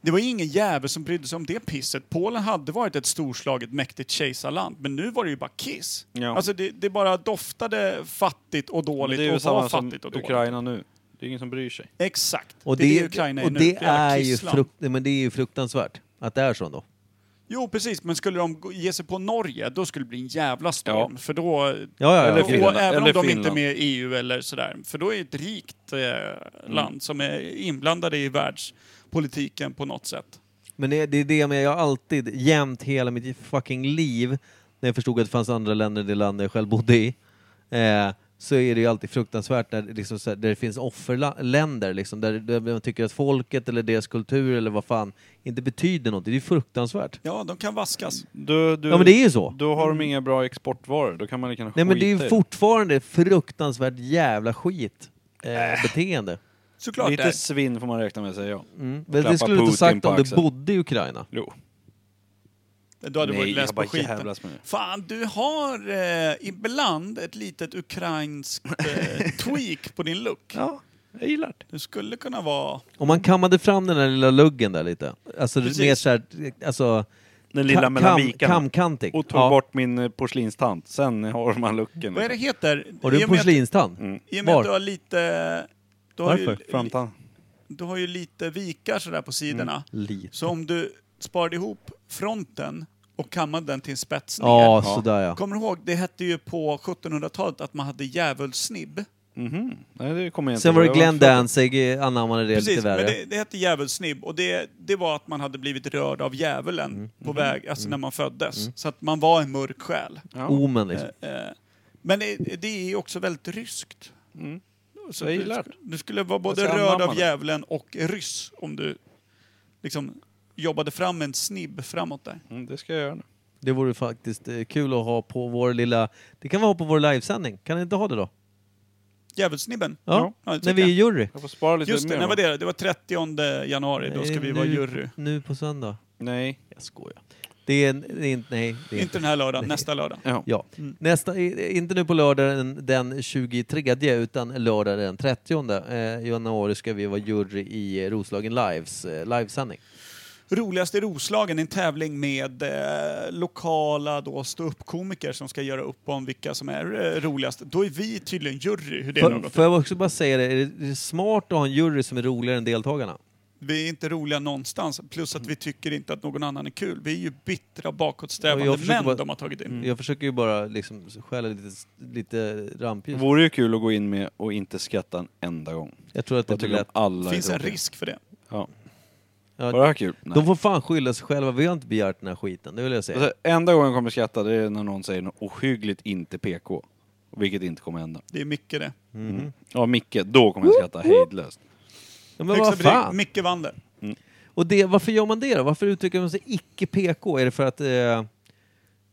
C: Det var ingen jävel som brydde sig om det pisset. Polen hade varit ett storslaget, mäktigt kejsarland, men nu var det ju bara kiss.
B: Ja.
C: Alltså det, det bara doftade fattigt och
B: Men
C: dåligt
B: det är ju
C: och var
B: samma som
C: fattigt och dåligt.
B: Ukraina nu. Det är ingen som bryr sig.
C: Exakt.
A: Och
C: det, är
A: det,
C: det Ukraina
A: och
C: nu.
A: det
C: ett jävla
A: är ju
C: kissland.
A: frukt, men det är ju fruktansvärt att det är så då.
C: Jo, precis. Men skulle de gå- ge sig på Norge, då skulle det bli en jävla storm. För då...
A: Ja, ja, ja.
B: Eller
C: och,
B: Finland.
C: även om
B: Eller
C: de
B: Finland. Mm.
C: inte är med i EU eller sådär. För då är det ett rikt eh, land som är inblandade i världspolitiken på något sätt.
A: Men det, det är det med, jag har alltid jämt hela mitt fucking liv när jag förstod att det fanns andra länder än det land jag själv bodde i. Eh, så är det ju alltid fruktansvärt när, det liksom, så här, där det finns offerländer, liksom, där, där man tycker att folket eller deras kultur eller vad fan inte betyder något. Det är ju fruktansvärt.
C: Ja, de kan vaskas.
B: Du, du,
A: Ja men det är ju så.
B: Då har de inga bra exportvaror, då kan man lika gärna
A: Nej men det
B: skita
A: är
B: i
A: ju fortfarande fruktansvärt jävla skit
B: Äh.
A: eh, beteende.
C: Såklart det
B: Lite
C: är.
B: svinn får man räkna med sig, ja.
A: Mm. Men
B: Klappa
A: det skulle du inte
B: Putin
A: sagt
B: på
A: om du
B: axeln.
A: bodde i Ukraina.
B: Jo.
C: Då hade du varit less på skiten.
B: jävlas med det.
C: Fan, du har eh, ibland ett litet ukrainskt eh, tweak på din look.
B: Ja, jag gillar det.
C: Du skulle kunna vara...
A: Om man kammade fram den där lilla luggen där lite. Alltså
C: Precis.
A: mer såhär, alltså...
B: Den lilla mellan vikarna.
A: Kamkantig.
B: Och tog
A: Ja.
B: bort min eh, porslinstant, sen har man lucken. Liksom.
C: Vad är det heter?
A: Har du
C: I
A: en
C: och med att- Mm.
A: porslinstand?
C: I och med
A: Var?
C: att du har lite... Du har, ju,
B: Framtan.
C: du har ju lite vikar sådär på sidorna.
A: Lite.
C: Så om du sparade ihop fronten och kammade den till en spets ner.
A: Ja, sådär ja.
C: Kommer du ihåg, det hette ju på 1700-talet att man hade djävulsnibb.
B: Mhm. Nej, det kommer jag inte
A: Sen var det
B: ihåg.
A: Glenn Danzig eh, anammade det
C: Precis,
A: lite
C: men
A: värre.
C: det, det hette djävulsnibb och det, det var att man hade blivit rörd av djävulen
A: Mm.
C: på väg, alltså när man föddes. Så att man var en mörk själ.
B: Ja.
A: Omen liksom.
C: Eh, eh, Men det, det är ju också väldigt ryskt.
B: Mm.
C: Så
B: Jag
C: du
B: gillar
C: sk- Du skulle vara både
B: Jag ska
C: rörd
B: anamma
C: av
B: det.
C: djävulen och ryss om du liksom jobbade fram en snibb framåt där.
B: Mm, det ska jag göra nu.
A: Det vore faktiskt eh, kul att ha på vår lilla... Det kan vi ha på vår livesändning. Kan ni inte ha det då?
C: Djävulsnibben?
A: Ja.
C: Ja, det
A: När
C: tycker
A: vi är
C: jag.
A: jury.
B: Jag får spara lite
C: Just
B: mer.
C: det, när
B: va?
C: var det? Det var 30 januari, då ska vi
A: Eh,
C: vara
A: nu-
C: jury.
A: Nu på söndag.
B: Nej.
A: Jag skojar. Det är, en- det är inte... Nej. Det är
C: Inte den här lördagen, nästa lördag.
B: Ja.
A: Ja.
C: Mm.
A: Nästa, i- inte nu på lördagen den 23 utan lördag den 30 eh, januari ska vi vara jury i eh, Roslagen Lives eh, livesändning.
C: Roligast i Roslagen är en tävling med eh, lokala då, ståuppkomiker som ska göra upp om vilka som är eh, roligast. Då är vi tydligen jury, hur det nu har
A: Får,
C: gått
A: får
C: till.
A: jag också bara säga det, är det- det är smart att ha en jury som är roligare än deltagarna?
C: Vi är inte roliga någonstans, plus att vi tycker inte att någon annan är kul. Vi är ju bittra, bakåtsträvande
A: Jag försöker
C: män
A: bara- Mm.
C: de har tagit in.
A: Jag försöker ju bara liksom stjäla lite, lite rampljus.
B: Vore ju kul att gå in med och inte skratta en enda gång.
A: Jag tror att det
B: Jag
A: blir
B: tycker
A: lätt.
B: att alla
C: Det finns
B: är
C: en
A: Mm.
B: roliga.
C: risk för det.
B: Ja.
A: Ja.
B: Var det här kul? Nej.
A: De får fan skylla sig själva, vi har inte begärt den här skiten, det vill jag säga.
B: Alltså, enda gången jag kommer skratta det är när någon säger något ohyggligt inte PK. Vilket inte kommer hända. Mm.
C: Det är mycket det.
B: Ja, Micke, då kommer jag skratta hejdlöst.
A: Ja, men
C: Högsta
A: vad fan!
C: betyg, Micke vann det.
A: Och det, varför gör man det då? Varför uttrycker man sig icke PK? Är det för att eh,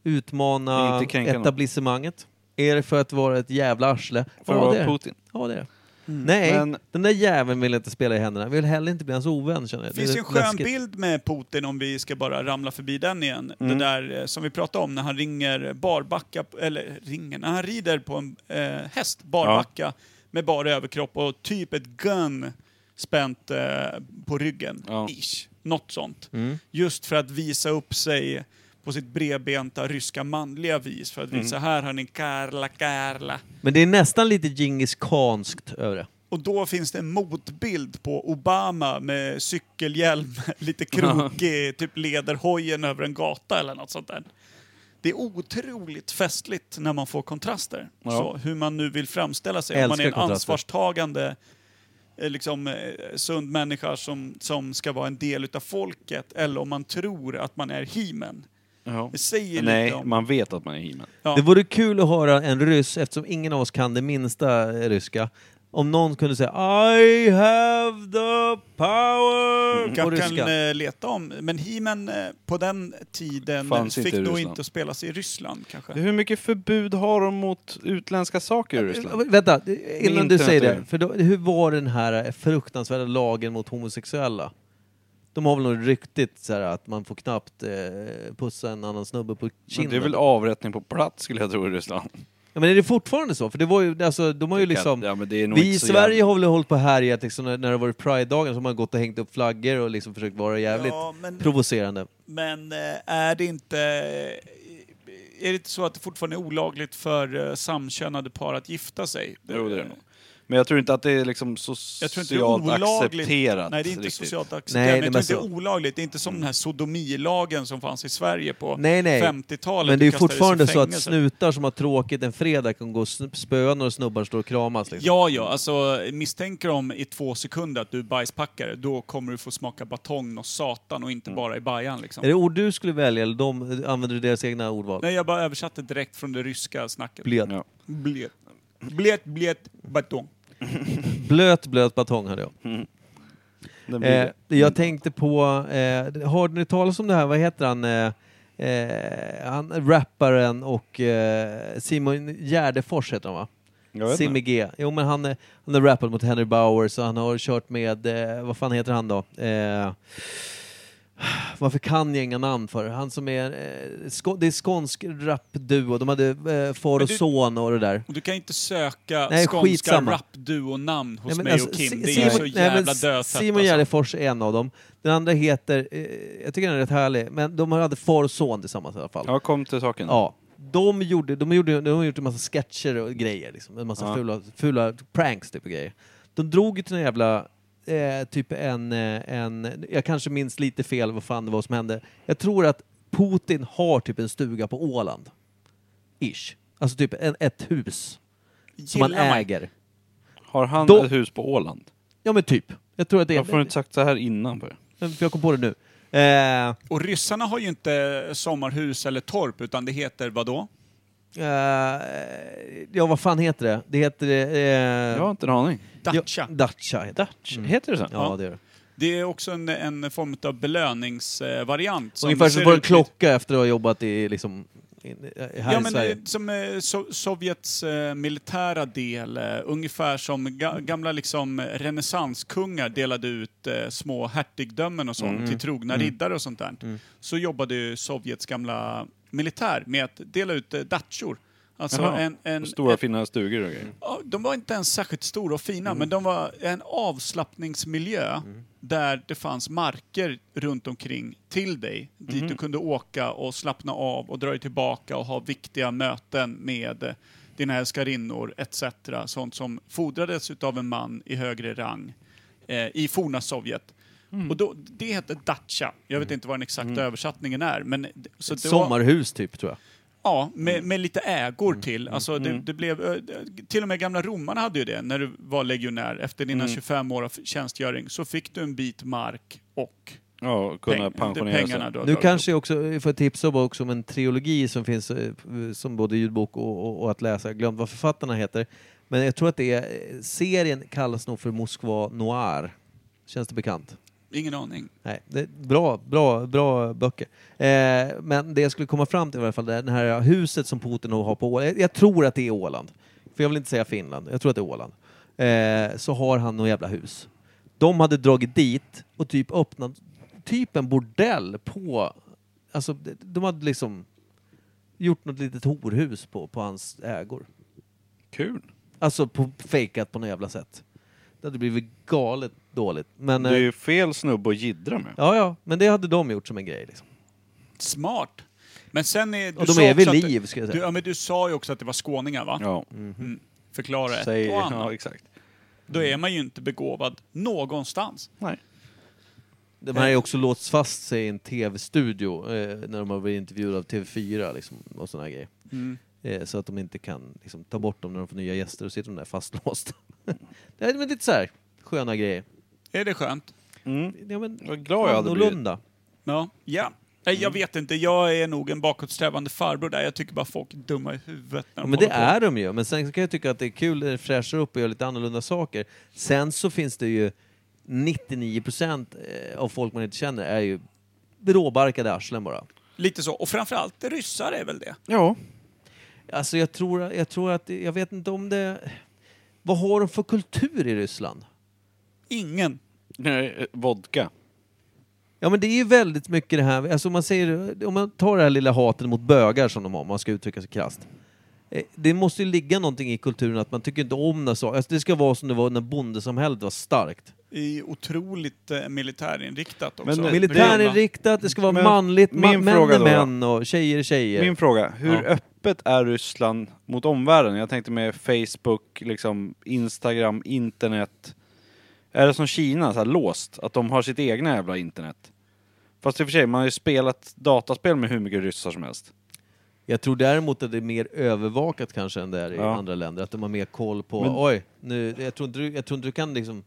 A: utmana
B: Inte kränka någon.
A: etablissemanget? Är det för att vara ett jävla arsle?
B: För
A: ja,
B: att
A: det är
B: vara
A: det.
B: Putin.
A: Ja, det är det.
C: Mm.
A: Nej,
B: Men-
A: den där jäveln vill jag inte spela i händerna. Vill heller inte bli hans ovän känner jag.
C: Det finns
A: är
C: ju en skön
A: läskigt.
C: bild med Putin, om vi ska bara ramla förbi den igen. Det där eh, som vi pratade om när han ringer barbacka, eller ringer, när han rider på en eh, häst, barbacka, med bara överkropp och typ ett gun spänt eh, på ryggen.
B: Ja.
C: Ish. Något sånt.
A: Mm.
C: Just för att visa upp sig på sitt bredbenta ryska manliga vis. För att visa, här har ni Karla, Karla.
A: Men det är nästan lite Djingis kanskt över det.
C: Och då finns det en motbild på Obama med cykelhjälm, lite krokig, typ leder hojen över en gata eller något sånt där. Det är otroligt festligt när man får kontraster.
B: Ja.
C: Så hur man nu vill framställa sig. Om man
A: Älskar
C: är en
A: kontraster.
C: ansvarstagande, eh, liksom, eh, sund människa som, som ska vara en del utav folket. Eller om man tror att man är himen.
B: Ja.
C: Det säger
B: Nej,
C: lite om...
B: man vet att man är he
C: Ja.
A: Det vore kul att höra en ryss, eftersom ingen av oss kan det minsta eh, ryska. Om någon kunde säga I have the power på
C: Jag
A: ryska.
C: kan eh, leta om, men He-Man eh, på den tiden
B: Fanns
C: fick
B: inte i
C: nog
B: Ryssland.
C: inte spelas i Ryssland kanske.
B: Hur mycket förbud har de mot utländska saker i
A: Eh,
B: Ryssland?
A: Vänta, innan du
B: internet
A: säger
B: är
A: det.
B: det.
A: För då, hur var den här eh, fruktansvärda lagen mot homosexuella? De har väl något ryktigt så här, att man får knappt eh, pussa en annan snubbe på
B: Men
A: kinden?
B: det är väl avrättning på plats skulle jag tro i Ryssland.
A: ja, men är det fortfarande så? För det var ju, alltså, de har ju
B: Det kan-
A: liksom...
B: ja, men det är nog
A: Vi i
B: inte så
A: Sverige
B: jävla-
A: har väl hållit på här i att liksom, när när det har varit Pride-dagen så har man gått och hängt upp flaggor och liksom försökt vara jävligt
C: Ja, men-
A: provocerande.
C: Men eh, är det inte... Är det inte så att det fortfarande är olagligt för eh, samkönade par att gifta sig?
B: Jo, det är det nog. Men jag tror inte att det är liksom socialt
C: Jag tror inte det är olagligt.
B: accepterat.
C: Nej, det är inte
B: riktigt.
C: socialt
A: Nej,
C: accepterat.
A: det
C: men
A: men
C: jag tror
A: så- Mm.
C: inte det är olagligt. Det är inte som den här sodomilagen som fanns i Sverige på
A: Nej, nej.
C: 50-talet.
A: Men det är
C: och
A: ju
C: kastades i
A: fortfarande så att
C: fängelse.
A: snutar som har tråkigt en fredag kan gå och sn- spöa några snubbar och stå och kramas. Liksom.
C: Ja, ja. Alltså, misstänker de i två sekunder att du är bajspackare, då kommer du få smaka batong och satan och inte bara i bajan. Liksom.
A: Mm. Är det ord du skulle välja eller de, använder du deras egna ordval?
C: Nej, jag bara översatte direkt från det ryska snacket.
A: Blöt.
B: Ja.
C: Blöt. Blöt, blöt, batong.
A: blöt, blöt batong hade jag.
B: Mm. Det blir
A: Eh,
B: det.
A: jag tänkte på, eh, har ni talat om det här, vad heter han, eh, eh, han rapparen och eh, Simon Gärdefors heter han va?
B: Jag vet
A: Simmy
B: inte.
A: G. Jo men han, eh, han har rappat mot Henry Bowers och han har kört med, eh, vad fan heter han då? Eh, varför kan jag inga namn för? Han som är, eh, sko- det är skånsk rapduo, de hade eh, far
C: Men
A: och
C: du-
A: son och det där.
C: Och du kan inte söka
A: Nej,
C: skånska
A: skitsamma.
C: rapduo-namn hos
A: Nej, men
C: mig
A: alltså,
C: och Kim.
A: Si-
C: Det är så
A: Simon- nej, men
C: jävla alltså. dödtätt.
A: Simon Gärdefors är en av dem. Den andra heter, eh, jag tycker den är rätt härlig, men de hade far och son tillsammans i alla fall. Ja.
B: Ja, kom till saken.
A: De, gjorde, de, gjorde, de har gjort en massa sketcher och grejer, liksom. en massa
B: Ja.
A: fula, fula pranks typ och grejer. De drog ju till en jävla, eh, typ en, eh, en, jag kanske minns lite fel vad fan det var som hände. Jag tror att Putin har typ en stuga på Åland. Ish. Alltså typ en, ett hus som han
C: Gillar man.
A: äger.
B: Har han
A: Då-
B: ett hus på Åland?
A: Ja men typ. Jag tror att det
B: Varför har du
A: är...
B: inte sagt så här innan? För?
A: Men För jag kom på det nu. Eh,
C: Och ryssarna har ju inte sommarhus eller torp, utan det heter vadå?
A: eh, ja, vad fan heter det? Det heter... Eh,
B: Jag har inte en aning.
C: Dacha.
A: Ja, dacha heter det.
B: Heter det så?
A: Ja,
C: Ja.
A: det är det.
C: Det är också en, en form av belöningsvariant. som
A: Ungefär
C: ser
A: som på en
C: ut lite-
A: klocka efter att ha jobbat i, liksom, in, eh, här
C: Ja,
A: i
C: men
A: Sverige.
C: eh, som eh, so Sovjets eh, militära del, eh, ungefär som ga gamla liksom, eh, renässanskungar delade ut eh, små hertigdömen och
A: Mm,
C: sånt till trogna riddare och sånt där. Så jobbade ju Sovjets gamla militär med att dela ut eh, datchor. Alltså
B: Jaha.
C: en, en,
B: Stora
C: ett-
B: fina stugor och grejer.
C: Ja, de var inte ens särskilt stora och fina, men de var en avslappningsmiljö där det fanns marker runt omkring till dig, dit du kunde åka och slappna av och dra dig tillbaka och ha viktiga möten med eh, dina älskarinnor etc. Sånt som fordrades utav en man i högre rang eh, i forna Sovjet. Och då, det hette dacha. Jag vet inte vad den exakta översättningen är. Men, så det var-
A: Sommarhus typ, tror jag.
C: Ja, med,
B: Mm.
C: med lite ägor till. Alltså, det, det blev, ö, till och med gamla romarna hade ju det när du var legionär. Efter dina
B: Mm.
C: 25 år av tjänstgöring så fick du en bit mark och
B: Ja, och kunna
C: peng-
B: pensionera
C: pengarna
B: sig.
C: du har
A: Nu
C: dragit
A: kanske jag också får tipsa om, också om en trilogi som finns eh, som både ljudbok och, och, och att läsa. Jag har glömt vad författarna heter. Men jag tror att det är, eh, serien kallas nog för Moskva Noir. Känns det bekant?
C: upp. Ingen aning.
A: Nej, det är bra, bra, bra böcker. Eh, men det jag skulle komma fram till i alla fall, det är det här huset som Putin har på Åland. Jag, jag tror att det är Åland. För jag vill inte säga Finland, jag tror att det är Åland. Eh, så har han något jävla hus. De hade dragit dit och typ öppnat typ en bordell på... Alltså, de- de hade liksom gjort något litet horhus på, på hans ägor.
B: Kul.
A: Alltså på, fejkat på något jävla sätt. Det hade blivit galet dåligt. Men, eh,
B: Det är ju fel snubbe att jiddra med.
A: Ja, ja, men det hade de gjort som en grej. Liksom.
C: Smart! Men sen är... Du
A: Och de
C: sa
A: är
C: också
A: vid
C: att-
A: liv, ska jag
C: Du,
A: säga.
C: ja, men du sa ju också att det var skåningar, va?
B: Ja,
C: Förklara ett
B: säg...
C: och annat.
B: Ja, exakt.
C: Då är man ju inte begåvad någonstans.
B: Nej.
A: De här har ju också låst fast sig i en tv-studio eh, när de har blivit intervjuade av TV4 liksom, och såna här grejer.
B: Mm.
A: Eh, så att de inte kan liksom, ta bort dem när de får nya gäster och sitter de där fastlåsta. det är väl lite så här sköna grejer.
C: Är det skönt?
A: Ja, men,
B: Mm. Vad glad jag hade blivit.
A: annorlunda.
C: Ja. ja. Nej,
B: Mm.
C: Jag vet inte, jag är nog en bakåtsträvande farbror där. Jag tycker bara folk är dumma i huvudet
A: Ja,
C: när de
A: men det
C: håller på.
A: är de ju. Men sen kan jag tycka att det är kul när det fräschar upp och gör lite annorlunda saker. Sen så finns det ju 99% eh, av folk man inte känner är ju råbarkade arslen bara.
C: Lite så. Och framförallt ryssar är väl det.
B: Ja.
A: Alltså jag tror, jag tror att, jag vet inte om det... Vad har de för kultur i Ryssland?
C: Ingen.
B: Nej, eh, Vodka.
A: Ja men det är ju väldigt mycket det här, alltså om man säger, om man tar det här lilla hatet mot bögar som de har, om man ska uttrycka sig krasst. Eh, Det måste ju ligga någonting i kulturen att man tycker inte om när saker, alltså det ska vara som det var när bondesamhället var starkt.
C: I otroligt eh, militärinriktat också.
B: Men, eh,
C: Det
A: Militären är
C: gamla.
A: riktat, det ska vara
B: Men
A: manligt, ma-
B: min
A: män
B: fråga
A: är
B: då.
A: män och tjejer är tjejer.
B: Min fråga, hur
A: Ja.
B: öppet är Ryssland mot omvärlden? Jag tänkte med Facebook, liksom Instagram, internet. Är det som Kina, så här låst? Att de har sitt egna jävla internet? Fast i och för sig, man har ju spelat dataspel med hur mycket ryssar som helst.
A: Jag tror däremot att det är mer övervakat kanske än det är i
B: Ja.
A: andra länder. Att de har mer koll på,
B: Men-
A: oj, nu, jag, tror inte du, jag tror inte du kan liksom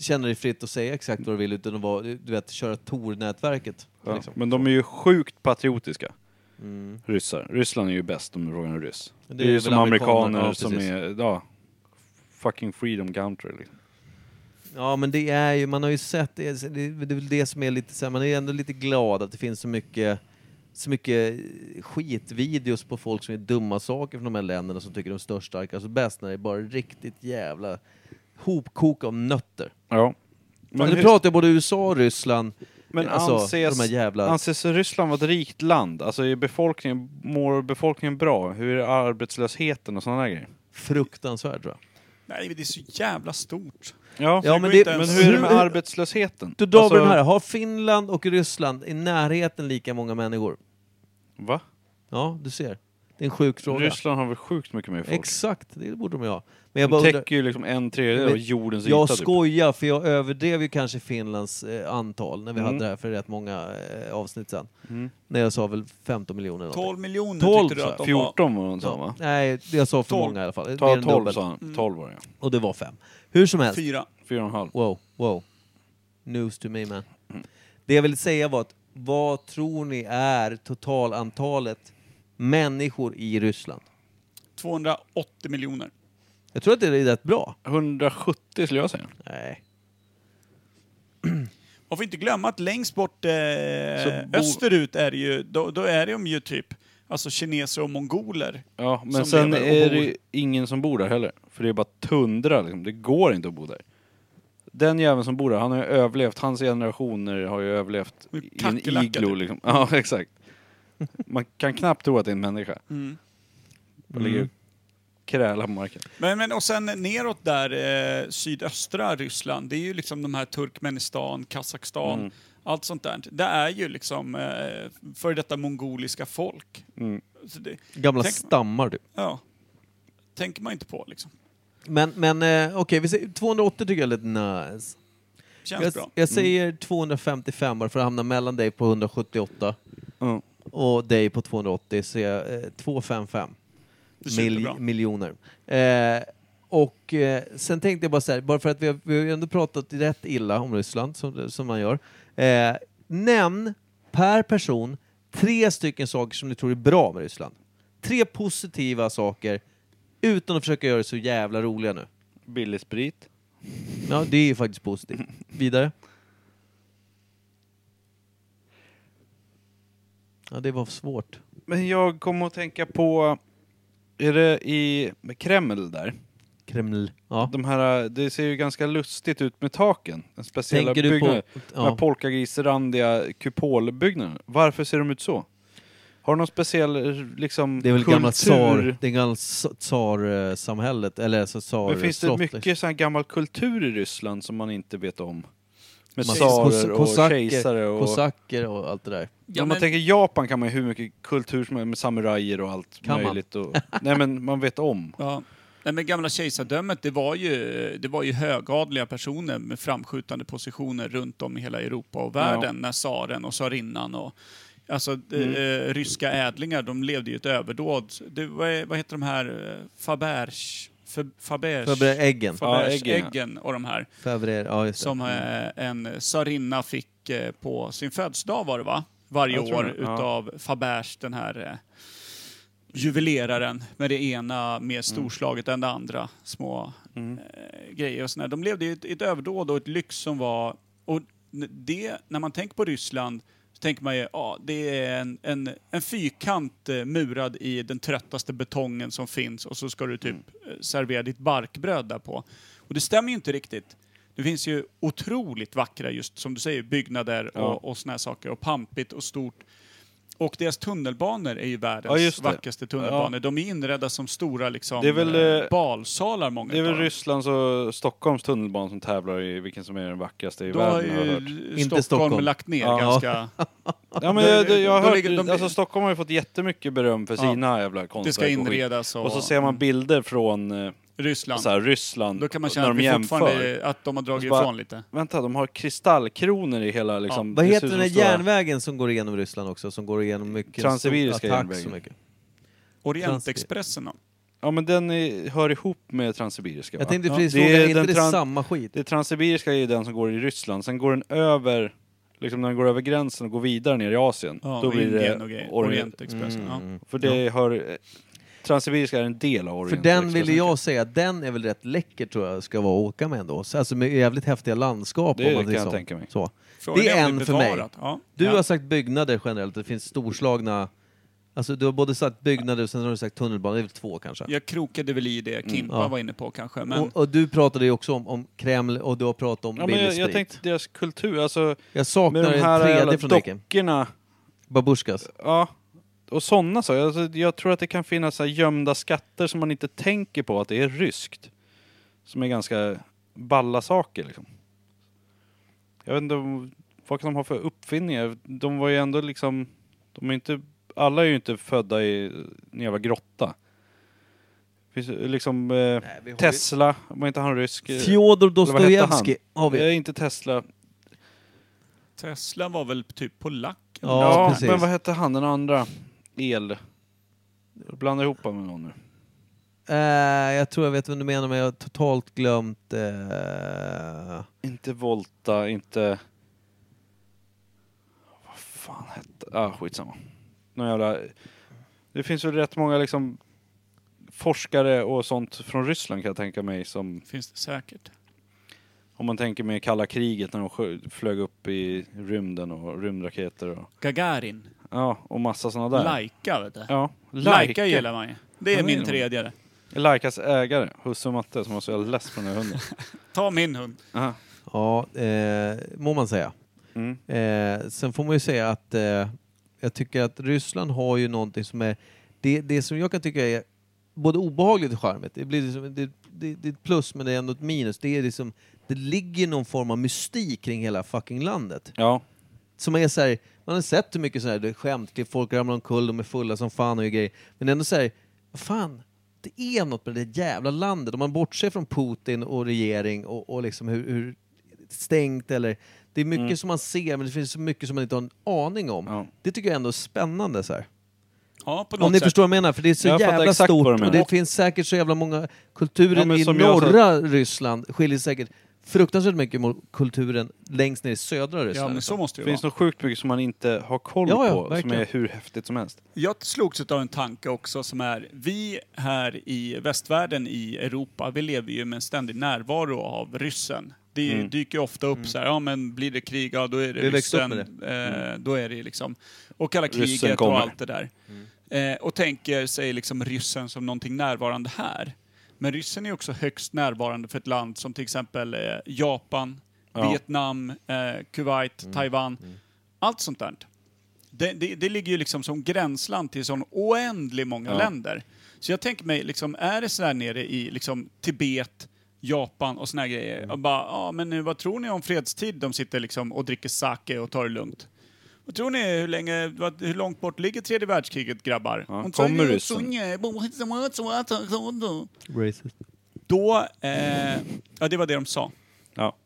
A: känna dig fritt och säga exakt vad du vill utan att vara, du vet, köra Tor-nätverket.
B: Ja.
A: Liksom.
B: Men de är ju sjukt patriotiska,
A: Mm.
B: ryssar. Ryssland är ju bäst om frågan är ryss.
A: Det
B: Det
A: är
B: är,
A: väl
B: ju som amerikaner
A: amerikaner, ja,
B: som
A: precis.
B: är, ja, fucking freedom country. Liksom.
A: Ja men det är ju, man har ju sett, det är, det är väl det som är lite så här, man är ändå lite glad att det finns så mycket så mycket skitvideos på folk som är dumma saker från de här länderna som tycker de är störst, starkast och bäst när det är bara riktigt jävla hopkok av nötter.
B: Ja.
A: Men nu pratar jag både USA och Ryssland.
B: Men
A: alltså,
B: anses,
A: de här jävla...
B: anses Ryssland vara ett rikt land? Alltså är befolkningen, mår befolkningen bra? Hur är arbetslösheten och sådana grejer?
A: fruktansvärd tror jag.
C: Nej, men det är så jävla stort.
B: Ja,
A: Ja,
C: går
A: men det-
C: inte
B: men
C: ens-
B: hur är det med
A: hur-
B: arbetslösheten? Alltså,
A: Då drar vi den här. Har Finland och Ryssland i närheten lika många människor?
B: Va?
A: Ja, du ser. Det är en sjuk fråga.
B: Ryssland har väl sjukt mycket mer folk?
A: Exakt, det borde de ju ha. Men jag
B: De
A: bara undrar,
B: täcker ju liksom en tredjedel
A: Men
B: av jordens
A: jag
B: yta typ.
A: skojar för jag överdrev ju kanske Finlands eh, antal när vi
B: Mm.
A: hade det här för rätt många eh, avsnitt sedan.
B: Mm.
A: När jag sa väl 15 miljoner eller
C: 12 miljoner
A: 12,
C: tyckte du att de 14.
B: 14 var de sa
A: ja.
B: va?
A: Nej, det jag sa för
C: 12.
A: många i alla fall. Mer
B: Ta
A: än
B: 12
A: dubbelt.
B: sa
C: Mm.
B: han. 12 var det ja.
A: Och det var fem. Hur som
C: var?
A: helst.
C: Fyra.
B: Fyra och en halv.
A: Wow, wow. News to me man. Det jag ville säga var att vad tror ni är totalantalet människor i Ryssland?
C: 280 miljoner.
A: Jag tror att det är rätt bra.
B: 170 skulle jag säga.
A: Nej.
C: Man får inte glömma att längst bort eh,
B: bo-
C: österut är det ju, då, då är de ju typ alltså kineser och mongoler.
B: Ja, men
C: Som
B: sen
C: lever och
B: är det
C: bor.
B: ju ingen som bor där heller. För det är bara tundra liksom. Det går inte att bo där. Den jäveln som bor där, han har ju överlevt. Hans generationer har ju överlevt
C: Och
B: i en
C: kackerlackor,
B: iglo
C: typ.
B: liksom. Ja, exakt. Man kan knappt tro att det är en människa.
C: Mm.
B: Man ligger och krälar på marken.
C: Men, men och sen neråt där, eh, sydöstra Ryssland, det är ju liksom de här Turkmenistan, Kazakstan,
B: Mm.
C: allt sånt där. Det är ju liksom eh, före detta mongoliska folk.
B: Mm.
C: Så det,
A: Gamla
C: Tänk-
A: stammar typ. du.
C: ja, tänker man inte på liksom.
A: Men, men eh, okej, vi säger 280 tycker jag är lite nice.
C: Känns
A: Jag,
C: bra. Mm.
A: jag säger 255 bara för att hamna mellan dig på 178
B: Ja.
A: och dig på 280 så jag eh, 255.
C: Det känns
A: mil
C: bra.
A: miljoner. Eh, och eh, sen tänkte jag bara så här, bara för att vi har, vi har ju ändå pratat rätt illa om Ryssland, som, som man gör. Eh, nämn per person tre stycken saker som du tror är bra med Ryssland. Tre positiva saker, utan att försöka göra det så jävla roliga nu.
B: Billig sprit.
A: Ja, det är ju faktiskt positivt. Vidare. Ja, det var svårt.
B: Men jag kommer att tänka på, är det i Kreml där?
A: Kreml. Ja.
B: De här, det ser ju ganska lustigt ut med taken. Den speciella
A: Tänker du på...
B: byggnaden. De här
A: Ja.
B: polkagrisrandiga kupolbyggnaderna. Varför ser de ut så? Har de någon speciell liksom
A: Det är väl gamla
B: kultur?
A: tsar, det är gamla s- tsarsamhället, eller alltså tsar
B: Men finns det
A: slott, liksom.
B: mycket sån här gammal kultur i Ryssland som man inte vet om? Med
A: Man-
B: tsarer och
A: kosacker,
B: kejsare och...
A: kosacker och allt det där?
B: om man tänker Japan kan man ju hur mycket kultur som helst med samurajer och allt
A: Kan man?
B: möjligt. Och, nej men man vet om.
C: Ja. Nej, men gamla kejsardömet, det var, ju, det var ju högadliga personer med framskjutande positioner runt om i hela Europa och världen när tsaren och tsarinnan och Alltså
B: Mm.
C: eh, ryska ädlingar, de levde ju ett överdåd. Det, vad, är- vad heter de här? eh, Fabers? Fa- Fabers?
A: Fabre äggen.
B: Ja, äggen, ja.
C: Fabersäggen och de här.
A: Fabre, ja just det.
C: Som
B: Mm.
C: eh, en tsarinna fick eh, på sin födelsedag var det va? Varje
B: Jag tror
C: år
B: det, ja.
C: utav Fabers, den här eh, juveleraren med det ena
B: Mm.
C: mer storslaget än det andra. Små eh, grejer och sådär. De levde i ett, i ett överdåd och ett lyx som var... Och n- det, när man tänker på Ryssland så tänker man ju, ja, det är en, en, en fyrkant eh, murad i den tröttaste betongen som finns och så ska du typ
B: Mm.
C: eh, servera ditt barkbröd där på. Och det stämmer ju inte riktigt. Det finns ju otroligt vackra, just som du säger, byggnader
B: Ja.
C: och, och såna här saker. Och pampigt och stort. Och deras tunnelbanor är ju
B: Ja,
C: världens
B: just det.
C: vackraste tunnelbanor. De är inredda som stora liksom,
B: Det är väl,
C: eh,
B: eh,
C: balsalar, många
B: Det är
C: utav
B: väl
C: dem.
B: Rysslands och Stockholms tunnelbana som tävlar i vilken som är den vackraste i
C: Då har
B: världen har jag hört.
C: ju
A: Inte
C: Stockholm,
A: Stockholm.
C: lagt ner
A: Ja.
C: ganska...
B: Ja, men jag, jag har
C: De
B: hört,
C: ligger- de-
B: alltså Stockholm har ju fått jättemycket beröm för
C: Ja.
B: sina jävla konstverk
C: Det ska
B: och skit.
C: inredas och, mm,
B: Och så ser man bilder från eh,
C: Ryssland.
B: så här, Ryssland
C: Då kan man känna
B: när
C: att,
B: de
C: vi
B: jämför.
C: fortfarande, att de har dragit
B: Och så bara-
C: ifrån lite.
B: Vänta, de har kristallkronor i hela liksom...
A: Vad
B: det ser
A: heter
B: ut
A: den
B: som
A: där
B: stora-
A: järnvägen som går igenom Ryssland också? Som går igenom mycket...
B: Transsibiriska
A: stor- attack
B: järnvägen.
A: Så mycket.
C: Orientexpressen då?
B: Ja men den är, hör ihop med Transsibiriska va?
A: Jag tänkte
C: Ja.
A: precis
B: Det är
A: fråga, är inte
B: den
A: det
B: tran-
A: samma skit?
B: Det Transsibiriska är ju den som går i Ryssland, sen går den över, liksom när den går över gränsen och går vidare ner i Asien.
C: Ja,
B: då
C: och
B: blir det
C: Indien och grejer.
B: Orient.
C: Orientexpressen. Ja.
B: För det hör... eh, Transsibiriska är en del av
A: För
B: Orient.
A: den ville jag säga, den är väl rätt läcker tror jag ska vara att åka med ändå. Så, Alltså med jävligt häftiga landskap.
B: Det
A: om man
B: kan
A: säger
B: jag
A: så.
B: tänka mig.
A: Så.
C: Frågan
A: Det är
C: om
A: en för mig.
C: bevarat. Ja.
A: Du
C: ja.
A: har sagt byggnader generellt, det finns storslagna... Alltså du har både sagt byggnader och sen har du sagt tunnelbana, det är väl två kanske?
C: Jag krokade väl i
B: Mm,
C: det Kimpa
A: Ja.
C: var inne på kanske. Men
A: Och, och du pratade ju också om, om Kreml och du har pratat om
B: Ja, men
A: billig
B: jag,
A: sprit.
B: jag tänkte deras kultur, alltså
A: Jag
B: med
A: saknar
B: de här
A: en
B: jävla
A: tredje från Eken.
B: dockorna.
A: Babusjkas.
B: Ja. Och sådana så. Alltså, jag tror att det kan finnas så här gömda skatter som man inte tänker på att det är ryskt. Som är ganska balla saker liksom. Jag vet inte om- vad kan de ha för uppfinningar. De var ju ändå liksom... De är inte, alla är ju inte födda i en jävla grotta. Finns ju liksom eh, Tesla, var inte han rysk? Eh,
A: Fjodor
B: vad hette
A: Dostojevskij har vi.
B: Eh, inte Tesla.
C: Tesla var väl typ polack?
A: Ja, precis.
B: men vad hette han den andra? El. Jag blandar ihop honom med någon nu.
A: Eh, jag tror jag vet vad du menar men jag har totalt glömt... eh,
B: Inte Volta, inte... Vad fan hette... Ah, skitsamma. Någon jävla... Det finns väl rätt många liksom forskare och sånt från Ryssland kan jag tänka mig som
C: Finns det säkert.
B: om man tänker med kalla kriget när de sjö- flög upp i rymden och rymdraketer och
C: Gagarin.
B: ja och massa såna där.
C: Laika vet du.
B: Ja,
C: Laika gillar man ju. Det är
B: Ja, det
C: min
B: gillar man.
C: tredje. det.
B: Laikas ägare, husse och matte som var så jävla less på den här hunden.
C: Ta min hund.
B: Aha.
A: Ja, eh, må man säga.
B: Mm.
A: Eh, sen får man ju säga att eh, jag tycker att Ryssland har ju någonting som är... Det, det som jag kan tycka är både obehagligt och charmigt. Det, blir liksom, det, det, det är ett plus men det är ändå ett minus. Det, är liksom, det ligger någon form av mystik kring hela fucking landet.
B: Ja.
A: Som är så här, man har sett hur mycket sådana här det är skämtklipp, folk ramlar omkull, de är fulla som fan och gör grejer. Men ändå så här, vad fan, det är något med det där jävla landet. Om man bortser från Putin och regering och, och liksom hur, hur stängt eller... Det är mycket som man ser men det finns så mycket som man inte har en aning om.
B: Mm. Ja.
A: Det tycker jag ändå är spännande så här.
C: Ja, på något
A: Om ni
C: sätt.
A: förstår vad jag menar, för det är så
B: Jag fattar
A: jävla
B: exakt vad du
A: stort och
B: menar.
A: det finns säkert så jävla många... Kulturen
B: Ja,
A: i
B: men som jag sa-
A: norra Ryssland skiljer sig säkert fruktansvärt mycket mot kulturen längst ner i södra
C: Ja,
A: Ryssland. liksom.
C: men så måste
B: Det
C: det ju
B: finns
C: vara.
B: något sjukt mycket som man inte har koll
A: Ja, ja,
B: på, som
A: verkligen.
B: är hur häftigt som helst.
C: Jag slogs av en tanke också som är, vi här i västvärlden i Europa, vi lever ju med en ständig närvaro av ryssen. Det dyker ju ofta upp så här, ja men blir det krig, ja då är det
A: Vi växte upp
C: ryssen.
A: med
C: Eh, då är det liksom, och kalla
B: Ryssen
C: kriget och
B: kommer.
C: allt det där. Eh, och tänker sig liksom ryssen som någonting närvarande här. Men ryssen är också högst närvarande för ett land som till exempel eh, Japan,
B: Ja.
C: Vietnam, eh, Kuwait, Taiwan. Allt sånt där. Det, det, det ligger ju liksom som gränsland till sån oändlig många
B: Ja.
C: länder. Så jag tänker mig, liksom, är det så här nere i liksom, Tibet, Japan och såna här grejer. Och bara, ja men nu, vad tror ni om fredstid? De sitter liksom och dricker sake och tar det lugnt. Vad tror ni, hur, länge, vad, hur långt bort ligger tredje världskriget grabbar?
B: Ja,
C: Och så-
B: kommer ryssen?
A: Racist.
C: Då, eh, ja det var det de sa.
B: Ja.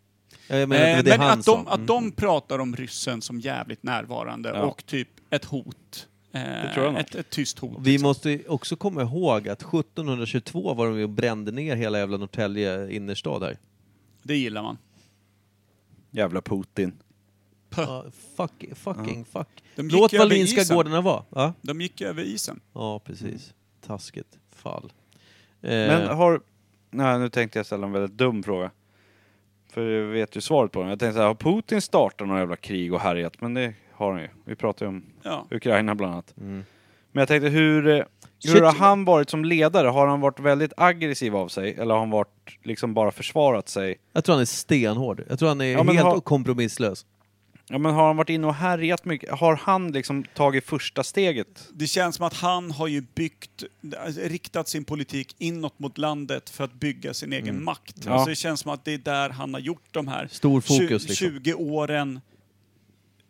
A: Ja, Jag menar,
C: Eh,
A: att det var
C: men
A: det han
C: att, de,
A: sa. Mm.
C: att de pratar om ryssen som jävligt närvarande
B: Mm. Ja.
C: och typ ett hot. Eh,
B: tror jag nog.
C: ett, ett tyst hot.
A: Vi måste ju också komma ihåg att 1722 var de ju och brände ner hela jävla Norrtälje innerstad här.
C: Det gillar man.
B: Jävla Putin.
A: Ja, fuck, fucking fuck.
C: De gick
A: Låt
C: över
A: Wallinska
C: isen. Mm.
A: gårdarna vara. Ja,
C: De gick över isen.
A: ja precis. Taskigt fall. Eh,
B: Men har... Nej, nu tänkte jag ställa en väldigt dum fråga. För jag vet ju svaret på den. Jag tänkte så här, har Putin startat några jävla krig och härjat? Men det har han ju. Vi pratar ju om
C: Ja.
B: Ukraina bland annat.
A: Mm.
B: Men jag tänkte hur... eh, Hur
A: Shit.
B: har han varit som ledare? Har han varit väldigt aggressiv av sig? Eller har han varit liksom bara försvarat sig?
A: jag tror han är stenhård. Jag tror han är
B: Ja, men
A: helt
B: ha-
A: kompromisslös.
B: Ja men har han varit inne och härjat mycket? Har han liksom tagit första steget?
C: Det känns som att han har ju byggt, alltså, riktat sin politik inåt mot landet för att bygga sin egen
B: Mm. Ja.
C: makt.
B: liksom.
C: Alltså, det känns som att det är där han har gjort de här
A: Stor fokus,
C: tju-
A: liksom.
C: 20 åren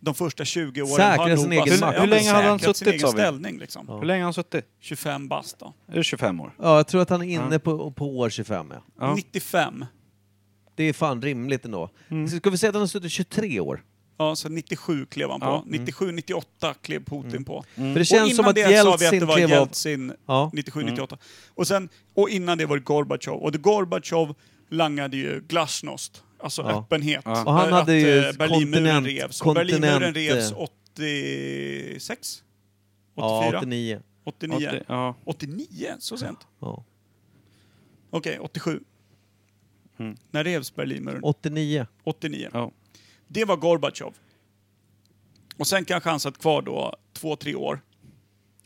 C: de första 20 åren
A: Säkra
C: har nog
A: sin
C: bara-
A: egen
C: Ja,
A: makt.
C: men
A: Hur
B: länge hade han
C: säkrat
B: suttit,
C: sin
B: sa
C: egen
B: vi?
C: ställning liksom.
B: Hur länge har han suttit?
C: 25 bast då.
B: Är det 25 år?
A: Ja, jag tror att han är inne på, på år 25. Ja.
B: Ja.
C: 95.
A: Det är fan rimligt ändå.
B: Mm.
A: Ska vi säga att han har suttit 23 år?
C: Ja, så 97 klev han på.
B: Ja, mm.
C: 97, 98 klev Putin på.
A: För det känns som att
C: Mm. det sa vi att det
A: Jeltsin
C: var
A: klev av...
C: Jeltsin
A: Ja.
C: 97,
B: Mm.
C: 98. Och, sen, och innan det var det Gorbatjov. Och det Gorbatjov langade ju glasnost, alltså
A: Ja.
C: öppenhet.
A: Och han
C: Att,
A: hade ju
C: eh, Berlinmuren
A: kontinent-
C: revs. Och
A: kontinent,
C: Berlinmuren revs
A: eh,
C: 86?
A: Ja,
C: 84?
A: 89.
C: 89?
B: Åttio- Ja.
C: 89? Så sent?
A: Ja.
C: Okej, 87.
B: Mm.
C: När revs Berlinmuren?
A: 89.
C: 89.
B: Ja.
C: Det var Gorbatjov. Och sen kanske han satt kvar då två, tre år.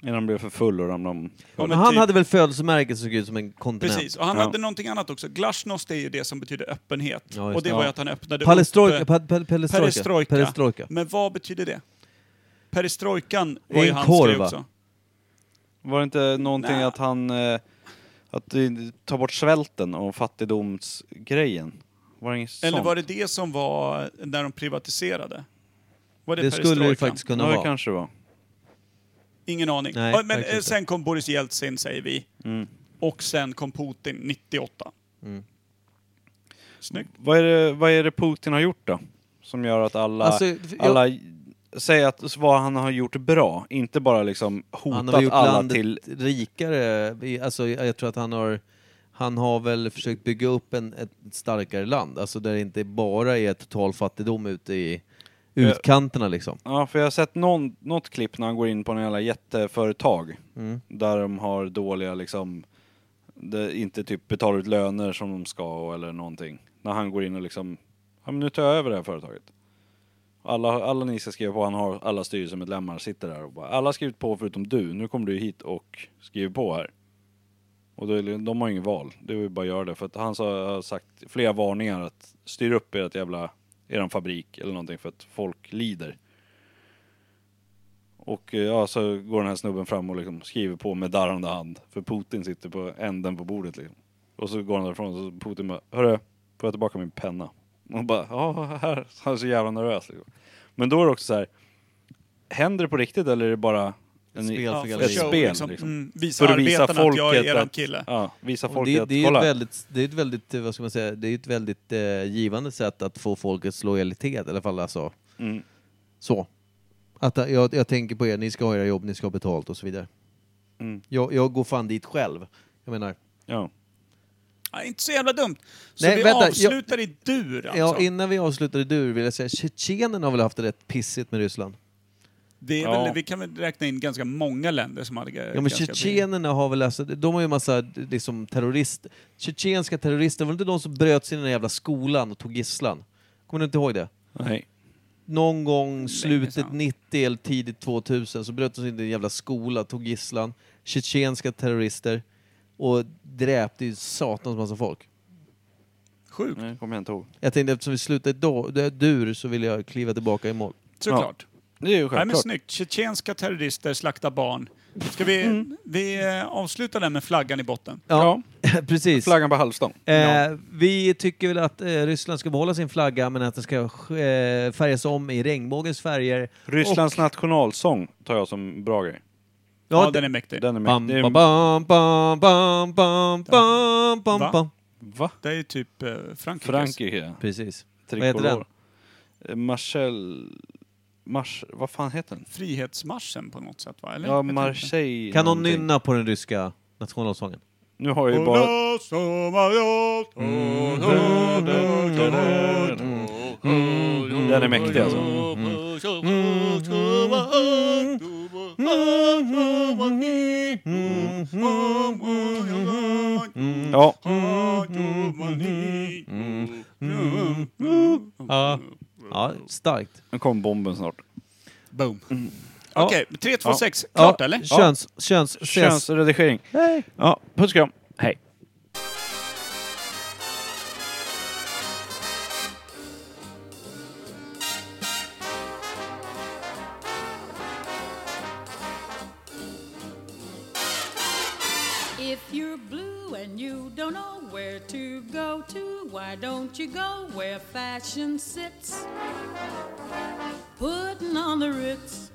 B: Innan han blev för full och ramlade om.
C: Ja,
A: men han
C: typ-
A: hade väl födelsemärket som såg ut som en kontinent?
C: Precis, och han
B: Ja.
C: hade någonting annat också. Glasnost är ju det som betyder öppenhet.
A: Ja, just
C: och det
A: det.
C: var ju
A: Ja.
C: att han öppnade
A: Palestrojka,
C: upp...
A: pa, pa, palestrojka.
C: Perestrojka.
A: Perestrojka.
C: Men vad betyder det? Perestrojkan
A: Det är
C: var ju
A: en
C: hans
A: korv,
C: grej
A: va?
C: också.
B: Var det inte någonting
C: Nej.
B: att han... Eh, att eh, ta bort svälten och fattigdomsgrejen? Var det inget
C: Eller
B: sånt?
C: var det det som var när de privatiserade? Var det,
A: Det skulle det
C: perestrojkan?
A: faktiskt kunna
B: Ja, det
A: vara.
B: kanske det var.
C: Ingen aning.
A: Nej,
C: Ja, men
A: verkligen
C: eh,
A: inte.
C: sen kom Boris Jeltsin, säger vi.
B: Mm.
C: Och sen kom Putin 98. Snyggt.
B: Vad är, det, vad är det Putin har gjort då? Som gör att alla...
A: Alltså, jag-
B: alla Säg att vad han har gjort bra, inte bara liksom
A: Han har
B: hotat
A: gjort
B: alla
A: landet
B: till...
A: rikare. I- Alltså, jag tror att han har... Han har väl försökt bygga upp en, ett starkare land, alltså där det inte bara är total fattigdom ute i utkanterna liksom.
B: Ja, för jag har sett någon, något klipp när han går in på några jävla jätteföretag. Där de har dåliga liksom... Det, inte typ betalar ut löner som de ska och- eller någonting. När han går in och liksom... Ja men nu tar jag över det här företaget. Alla, alla ni ska skriva på, han har alla styrelsemedlemmar sitter där och bara alla har skrivit på förutom du, nu kommer du hit och skriver på här. Och då är det, de har ju inget val, det är ju bara att göra det. För att han sa- har sagt flera varningar att styr upp ert jävla, eran fabrik eller någonting för att folk lider. Och eh, ja, så går den här snubben fram och liksom skriver på med darrande hand. För Putin sitter på änden på bordet liksom. Och så går han därifrån och så Putin bara, hörru, får jag tillbaka min penna? Och bara, ja, här. Han är så jävla nervös liksom. Men då är det också så här, händer det på riktigt eller är det bara en,
A: Spel för
C: för
A: galleriet.
B: ett
A: show,
B: spel?
C: liksom.
B: Liksom?
C: Mm, visa
B: För att visa
C: arbetarna att
B: folket
C: jag är eran
B: att-
C: kille.
B: Ja, visa
A: Och
B: folket
A: Det, det är ju
B: kolla.
A: ett väldigt, det är ett väldigt, eh, vad ska man säga, det är ju ett väldigt eh, givande sätt att få folkets lojalitet i alla fall. Alltså.
B: Mm.
A: Så. Att, eh, jag, jag tänker på er, ni ska ha era jobb, ni ska ha betalt och så vidare.
B: Mm.
A: Jag, jag går fan dit själv. Jag menar,
B: Ja.
C: Ja, inte så jävla dumt. Så
A: Nej,
C: vi
A: vänta, jag-
C: avslutar i dur alltså.
A: ja, innan vi avslutar i dur vill jag säga, tjetjenerna har väl haft det rätt pissigt med Ryssland.
C: det är
B: Ja.
C: väl, vi kan väl räkna in ganska många länder som hade
A: Ja men tjetjenerna har väl, alltså, de har ju massa liksom terrorister, tjetjenska terrorister, var det inte de som bröt sig in i den jävla skolan och tog gisslan? Kommer du inte ihåg det?
B: Nej.
A: någon gång slutet
C: sedan.
A: 90 eller tidigt 2000 så bröt de sig in i en jävla skola, tog gisslan, tjetjenska terrorister och dräpte ju satans massa folk.
C: Sjukt,
B: Nej, kommer jag inte ihåg.
A: Jag tänkte eftersom vi slutar idag, det är dur så vill jag kliva tillbaka i mål.
C: såklart.
B: Det är ju
C: Nej, men
B: självklart.
C: snyggt. Tjetjenska terrorister slaktar barn. Ska vi,
B: Mm.
C: vi eh, avsluta den med flaggan i botten?
A: Ja, precis.
B: Flaggan på halvstång.
A: Eh, vi tycker väl att eh, Ryssland ska behålla sin flagga men att den ska eh, färgas om i regnbågens färger.
B: Rysslands nationalsång tar jag som bra grej.
C: Ja, den är mäktig.
B: Den är med.
A: Bam,
B: Det är-
A: bam, bam, bam, bam, bam, bam,
C: Va?
A: bam, bam.
B: Va?
C: Det är ju typ eh, Frankrikes.
B: Frankrike.
A: Precis. Vad heter
B: Tricolor. Eh, Marcel... Mars... Vad fan heter den?
C: Frihetsmarschen på något sätt va? Eller?
B: Ja,
C: Jag vet inte.
B: Marseille...
A: Kan någon
B: någonting.
A: nynna på den ryska nationalsången?
B: Nu har jag ju bara... Mm. Den är mäktig alltså. Ja.
A: Ja. ja, starkt.
B: Nu kommer bomben snart.
C: Boom.
B: Mm. Ja.
C: Okej, tre, två,
B: Ja.
C: sex. Klart
A: ja,
C: eller?
A: Köns, köns, ses.
B: Könsredigering.
A: Hej.
B: Ja, puss kram. Hej.
H: If you're blue and you don't know where to go to, why don't you go where fashion sits? putting on the Ritz.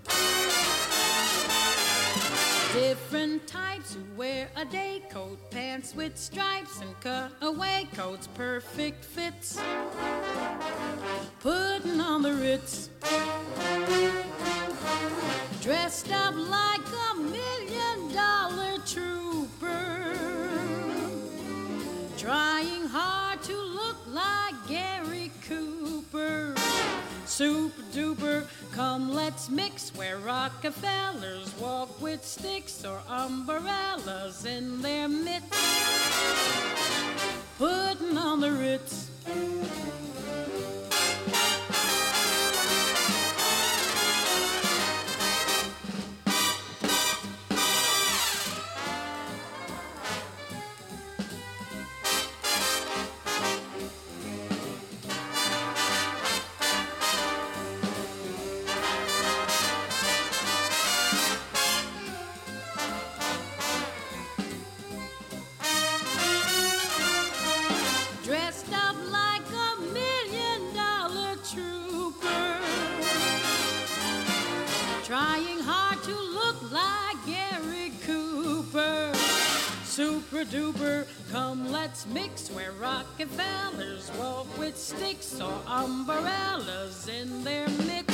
H: Different types who wear a day coat, pants with stripes and cutaway coats, perfect fits. Putting on the Ritz. Dressed up like a million dollar trooper trying hard to look like Gary Cooper. Super duper, come let's mix where Rockefellers walk with sticks or umbrellas in their mitts. Putting on the Ritz. dressed up like a million dollar trooper. Trying hard to look like Gary Cooper. Super duper, come let's mix where Rockefellers walk with sticks or umbrellas in their mix.